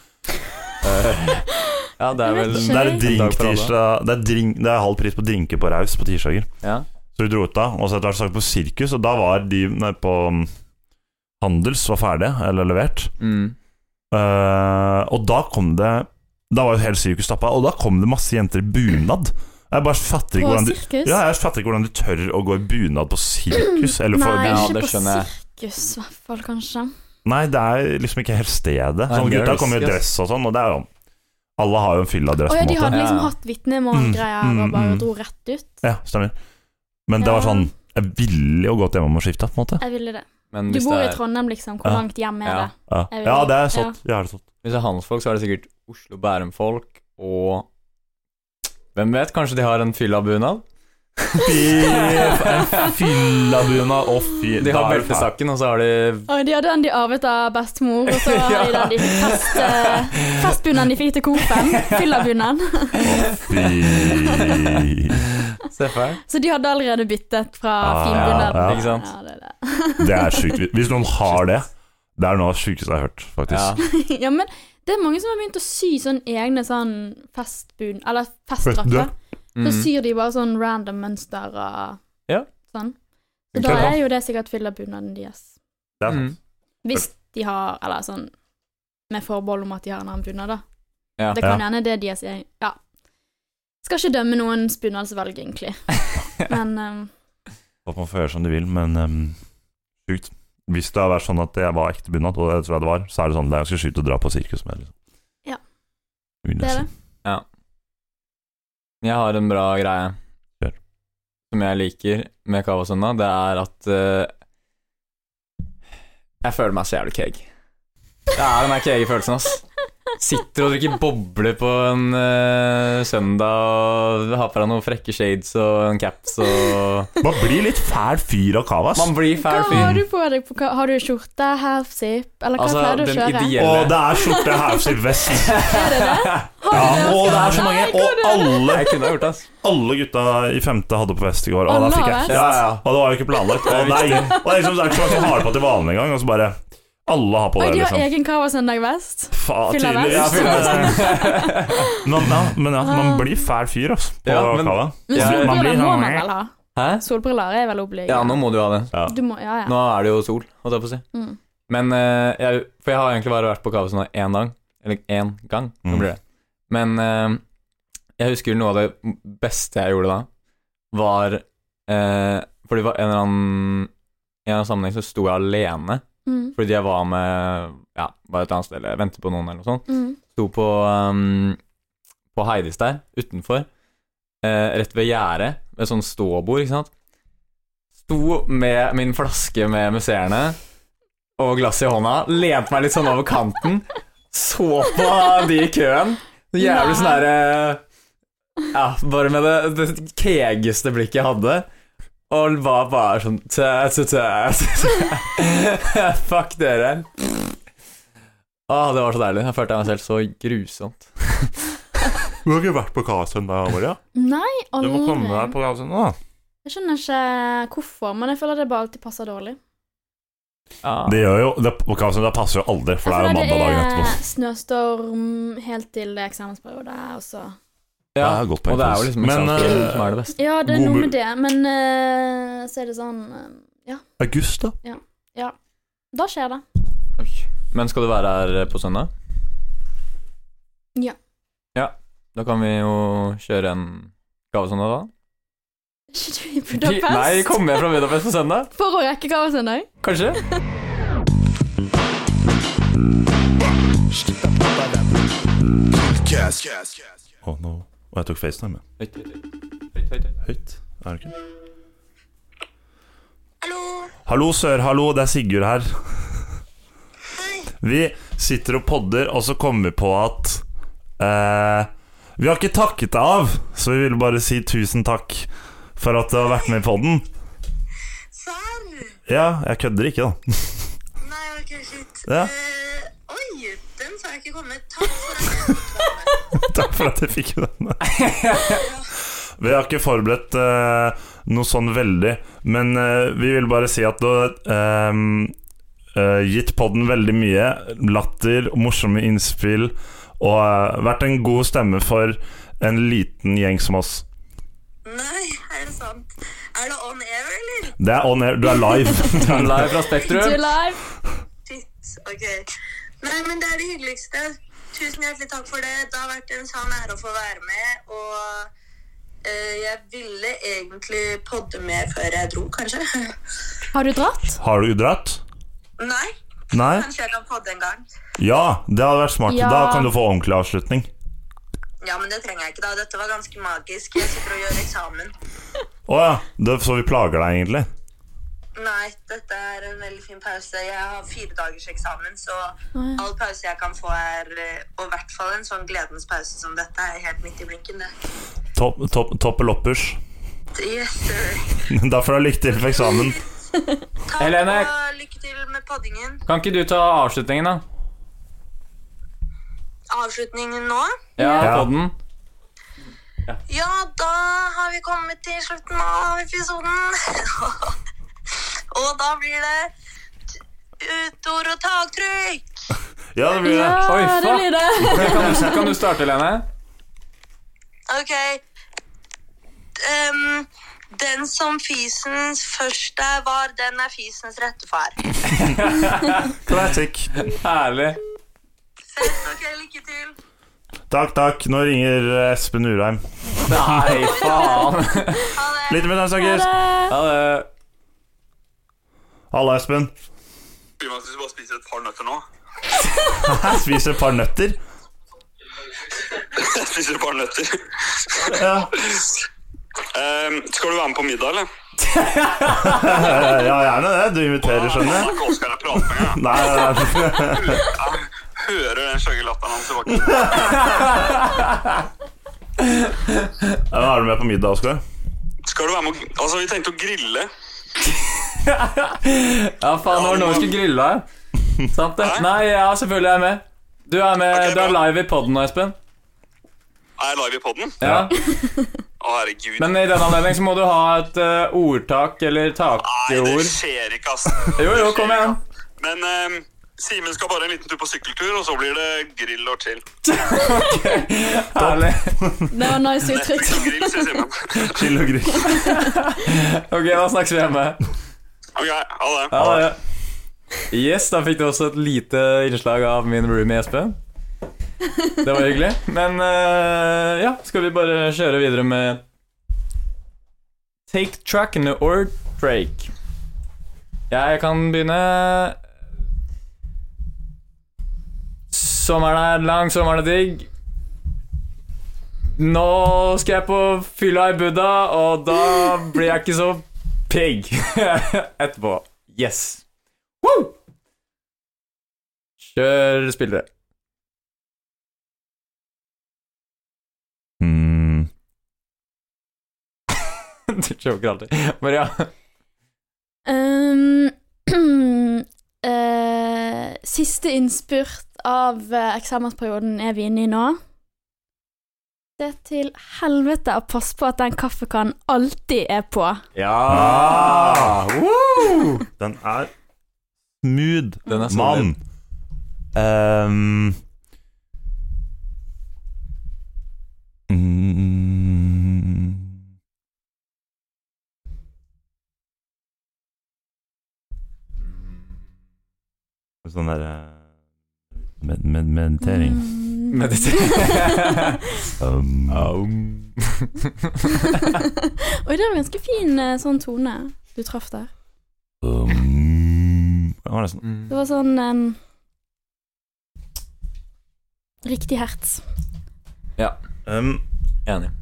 S3: Ja, det er
S2: Jeg vet
S3: vel
S1: Det er
S2: Skjønner.
S1: drink-tirsdag Det er, drink, det er halv pris på drinker på Raus på tirsdager.
S3: Ja.
S1: Så vi dro ut da, og så etter hvert snakket vi på sirkus, og da var de nei, på um, Handels var ferdige, eller levert.
S3: Mm.
S1: Eh, og da kom det Da var jo hele sirkus tappa, og da kom det masse jenter i bunad. Jeg bare fatter ikke
S2: På
S1: hvordan de
S2: sirkus?
S1: Ja, jeg fatter ikke hvordan du tør å gå i bunad på sirkus. Eller for,
S2: Nei,
S1: nei.
S3: Ja,
S2: ikke
S3: det
S2: på
S3: skjønner jeg.
S2: sirkus, i hvert fall, kanskje.
S1: det er liksom ikke helt stedet. Sånn,
S3: Nei,
S1: gutta
S3: nerds,
S1: kommer i
S3: yes.
S1: dress og sånn, og det er jo Alle har jo en fylla dress,
S2: Å ja,
S1: på
S2: de
S1: en måte.
S2: hadde liksom
S3: Ja.
S2: hatt vitnemålgreier
S1: Mm, mm,
S2: og bare
S1: mm.
S2: dro rett ut.
S1: Ja, stemmer. Men det
S2: Ja.
S1: var sånn Jeg ville jo gått hjem og skifta, på en måte.
S2: Jeg ville det.
S3: Men
S2: Du
S3: hvis
S2: bor
S3: det
S2: i
S3: er,
S2: Trondheim, liksom. Hvor
S1: Ja.
S2: langt hjem er
S3: Ja.
S2: det?
S1: Ja,
S2: Jeg vil-
S1: ja det er sånn. Ja. det er sånn.
S3: Hvis det er handelsfolk, så er det sikkert Oslo-Bærum-folk og Hvem vet, kanskje de har en fylla-bunad?
S1: En fyllabunad og fy
S3: De har beltesakken, og så har de
S2: Og de hadde den de arvet av bestemor, og så
S3: Ja.
S2: hadde de den de fest, eh, festbunaden de fikk til Coop-en. Fyllabunaden.
S1: Fy
S3: Se for deg.
S2: Så de hadde allerede byttet fra
S1: Ah,
S2: finbunaden.
S1: ja.
S3: Ikke sant?
S2: Ja, det er det.
S1: Det er sjukt. Hvis noen har det Det er noe av det sjukeste jeg har hørt,
S3: Ja.
S1: faktisk.
S2: ja, men det er mange som har begynt å sy sånn egne sånn festbun... Eller festdrakter.
S1: Festdrakt.
S2: Så
S3: Mm.
S2: syr de bare sånn random mønster og
S3: Ja.
S2: sånn. Så
S1: Ikke
S2: da
S1: sant?
S2: er jo det sikkert fyllabunaden deres.
S1: Det er sånn. sant.
S3: Mm.
S2: Hvis de har Eller sånn med forbehold om at de har en annen bunad, da.
S3: Ja.
S2: Det kan gjerne det de sier. Ja. Skal ikke dømme noens bunadsvalg, egentlig. Men um,
S1: Håper man får gjøre som de vil, men ehm, sjukt. Hvis det har vært sånn at jeg var ekte bunad, og det tror jeg det var, så er det sånn det er ganske sjukt å dra på sirkus med. Liksom.
S2: Ja.
S1: Vil jeg
S2: det er
S1: si.
S2: det.
S3: Jeg har en bra greie
S1: Kjør.
S3: som jeg liker med Cava Søndag. Det er at eh, jeg føler meg så jævlig keeg. Det er den der keege følelsen, ass. Sitter og drikker bobler på en eh, søndag og har på deg noen frekke shades og en caps og
S1: Man blir litt fæl fyr av kavas.
S3: Man blir
S2: Hva
S3: fæl
S2: har
S3: fyr.
S2: du på deg? På, hva- har du skjorte, halfzip, eller hva
S3: Altså,
S2: pleier du å
S3: den
S2: kjøre?
S1: Og
S3: ideelle
S1: det er skjorte, house i vest.
S2: Er det det?
S1: Ja, og det er så mange. Og alle,
S3: Jeg kunne ha gjort det, ass.
S1: alle gutta i femte hadde på vest i går. Og da
S2: Alle
S1: fikk
S2: har
S1: jeg
S2: vest?
S1: ja, ja. Og det var jo ikke planlagt. Og det er ingen og det er liksom, det er ikke så mange som har det på til vanlig engang. Og så bare Alle har på
S2: Oi,
S1: det,
S2: de har
S1: liksom.
S2: egen Cava-søndag-vest.
S1: Faen,
S2: fylla vest.
S3: Ja, fylla
S1: tydeligvis. Men, ja, men ja, man
S2: Ah.
S1: blir fæl fyr, altså. På
S3: Ja, men-
S1: kava.
S2: Men
S3: Ja,
S1: man
S2: solbriller
S1: blir
S2: må
S1: sånn-
S2: man vel ha?
S3: Hæ?
S2: Solbriller er vel obligert?
S3: Ja, nå må du ha det.
S1: Ja.
S2: Du må, ja, ja.
S3: Nå er det jo sol, holdt jeg på å si.
S2: Mm.
S3: Men eh, jeg, For jeg har egentlig bare vært på Kavesund én dag. Eller én gang, nå
S1: Mm.
S3: blir det. Men eh, jeg husker noe av det beste jeg gjorde da, var eh, Fordi det var en eller annen i en eller annen sammenheng så sto jeg alene
S2: Mm,
S3: fordi jeg var med Ja, var et annet sted, eller ventet på noen, eller noe sånt
S2: mm.
S3: sto på, um, på Heidis der, utenfor, eh, rett ved gjerdet, ved et sånt ståbord, ikke sant? Sto med min flaske med musserende og glass i hånda, lente meg litt sånn over kanten, så på de i køen, så jævlig sånn derre Ja, bare med det, det kegeste blikket jeg hadde. Og var bare sånn tæ, tæ, tæ, tæ. Fuck dere. Åh, det var så deilig. Jeg følte meg selv så grusomt.
S1: Du har ikke vært på Karasund da, Maria?
S2: Nei,
S1: Du må komme
S2: aldri.
S1: deg på Karasund nå, da.
S2: Jeg skjønner ikke hvorfor, men jeg føler det bare alltid passer dårlig.
S3: Ja.
S1: Det gjør jo det, på Karasund, det passer jo aldri, for det er jo
S2: Jeg
S1: mandag
S2: føler
S1: dagen etterpå.
S2: Altså, Det er snøstorm helt til det er eksamensperiode, og så
S3: ja.
S1: Det er et godt poeng,
S3: Og det er jo
S1: faktisk.
S3: liksom
S1: Men,
S3: eksamensperioden
S1: eh,
S3: som er det beste.
S2: Ja, det er
S1: God
S2: noe
S1: mu-
S2: med det, men eh, så er det sånn eh,
S1: August, da?
S2: Da skjer det.
S3: Men skal du være her eh, på søndag?
S2: Ja.
S3: Ja, da kan vi jo kjøre en gavesøndag da.
S2: Er ikke du i Budapest?
S3: Nei, kommer jeg fra Budapest på søndag?
S2: For å rekke kavasøndag?
S3: Kanskje?
S1: Å, nå Og jeg tok FaceTime jeg.
S3: Høyt, høyt, høyt, høyt, høyt.
S1: høyt. Er det ikke? Hallo, sør. Hallo, det er Sigurd her. Vi sitter og podder, og så kommer vi på at eh, Vi har ikke takket deg av, så vi ville bare si tusen takk for at du har vært med i podden.
S4: Sær nu?
S1: Ja, jeg kødder ikke, da.
S4: Nei, ok, shit.
S1: Ja.
S4: Eh, oi, den sa jeg ikke komme. Takk for at jeg fikk
S1: Takk for
S4: komme.
S1: at jeg fikk den. Vi har ikke forberedt eh, noe sånn veldig, men eh, vi vil bare si at du har gitt podden veldig mye latter, morsomme innspill og eh, vært en god stemme for en liten gjeng som oss.
S4: Nei, er det sant? Er det on air, eller?
S1: Det er on air, du er live. Du er live.
S3: Live fra
S2: Du
S3: Spektrum.
S2: live?
S4: Shit, ok. Nei, men det er det hyggeligste. Tusen hjertelig takk for det. Det har vært en sann ære å få være med, og eh, jeg ville egentlig podde mer før jeg dro, kanskje.
S2: Har du dratt?
S1: Har du dratt?
S4: Nei,
S1: Nei?
S4: kanskje jeg kan podde en gang.
S1: Ja, det hadde vært smart.
S2: Ja.
S1: Da kan du få ordentlig avslutning.
S4: Ja, men det trenger jeg ikke da. Dette var ganske magisk. Jeg sitter og gjør eksamen.
S1: Å ja, det, så vi plager deg egentlig?
S4: Nei, dette er en veldig fin pause. Jeg har fire dagers eksamen, så all pause jeg kan få er eh, Og i hvert fall en sånn gledens pause som dette er helt midt i blinken, det.
S1: Topp top, loppers.
S4: Yes, sir.
S1: Da får du ha lykke til for eksamen.
S4: Takk
S3: Helene.
S4: og lykke til med poddingen.
S3: Kan ikke du ta avslutningen, da?
S4: Avslutningen nå.
S3: Ja,
S1: Ja.
S3: podden.
S4: Ja, da har vi kommet til slutten av episoden. og da blir det utord og tagtrykk.
S1: Ja, det blir det.
S2: Ja,
S3: Oi,
S2: det
S3: fuck.
S2: blir det.
S3: Kan du, kan du starte, Lene?
S4: Ok. Ehm, den som fisens første var, den er fisens rette far.
S1: Classic.
S3: Herlig.
S4: Fett, ok, lykke til.
S1: Takk, takk. Nå ringer eh, Espen Urheim.
S3: Nei, faen.
S4: Ha det.
S1: Litt med deg, snakkes.
S3: Ha det.
S1: Halla, Espen.
S5: Skulle man bare spise et par nøtter nå?
S1: Jeg spiser et par nøtter.
S5: Jeg spiser et par nøtter.
S1: Ja,
S5: Ehm, skal du være med på middag, eller?
S1: Eh, ja gjerne det. Du inviterer, skjønner jeg.
S5: Fuck, Oskar, jeg prater med deg.
S1: Nei, nei, nei.
S5: Hører den skjøgge latteren hans tilbake.
S1: Ja, har du med på middag, Oskar?
S5: Skal du være med å... Altså, vi tenkte å grille.
S3: Ja, faen, det var nå vi skulle grille deg. Sant det? Nei, ja, selvfølgelig er jeg med. Du er med,
S5: Ok,
S3: du er
S5: bra.
S3: live i podden nå, Espen.
S5: Er jeg live i podden?
S3: Ja.
S5: Å, herregud.
S3: Men eh, i den anledning så må du ha et eh, ordtak eller
S5: Nei, det
S3: takord.
S5: skjer ikke, ass.
S3: Jo, jo, kom igjen.
S5: Men ehm, Simen skal bare en liten tur på sykkeltur, og så blir det grill og chill.
S3: Herlig.
S2: Det var nice uttrykk.
S5: Netflix og grill, sier Simen.
S1: Chill og grill.
S3: Ok, da snakkes vi hjemme.
S5: Ok, ha det.
S3: Ha det. Yes, da fikk du også et lite innslag av min roomie Espen. Det var hyggelig. Men eh, ja, skal vi bare kjøre videre med Take track or break. Jeg kan begynne. Sommeren er lang, sommeren er digg. Nå skal jeg på fylla i Buddha, og da blir jeg ikke så pigg etterpå. Yes. Woo! Kjør spillere. Hmm.
S1: Mm,
S3: Choker alltid. Maria,
S2: Ehm, eh, siste innspurt av eh, eksamensperioden er vi inne i nå. Det er til helvete å passe på at den kaffekannen alltid er på.
S3: Ja! Woo!
S1: Ah. Den er smooth.
S3: Den er solid.
S1: Mann. Ehm. Mm. Sånn der eh, med, med, Meditering.
S2: Mm.
S3: Mediter-
S1: Um,
S3: Um.
S2: Oi, det var en ganske fin eh, sånn tone du traff der.
S1: um. Det var nesten
S2: Det var sånn em, Riktig hertz.
S1: um,
S3: Enig.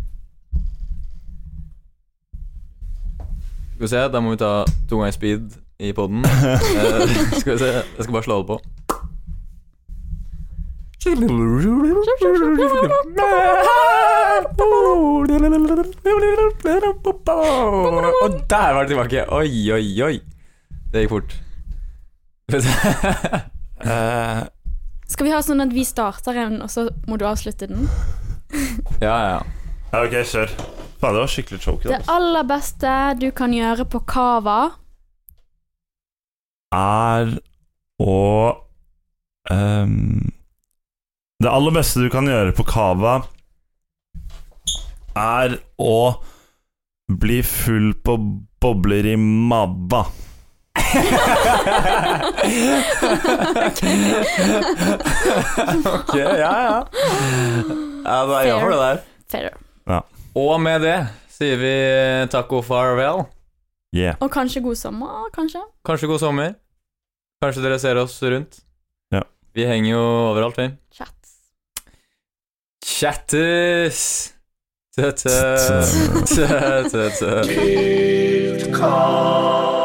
S3: Skal vi se, da må vi ta to ganger speed i poden. skal vi se, jeg skal bare slå det på. Og der var det tilbake! Oi, oi, oi. Det gikk fort. Skal vi se.
S1: eh,
S2: Skal vi ha sånn at vi starter en, og så må du avslutte den?
S3: Ja, ja, ja.
S1: ja, Ok, kjør. Faen, det var skikkelig choke.
S2: Det aller beste du kan gjøre på cava
S1: er å ehm, Det aller beste du kan gjøre på cava, er å bli full på bobler i mabba.
S3: ok, ja, ja. Ja, da gjør for det der.
S2: Fair.
S3: Og med det sier vi takk og farvel.
S1: Yeah.
S2: Og kanskje god sommer, kanskje.
S3: Kanskje god sommer. Kanskje dere ser oss rundt.
S1: Ja.
S3: Vi henger jo overalt, vi.
S2: Chats.
S3: Chattis! Tø-tø. Tø-tø.
S5: Helt kald.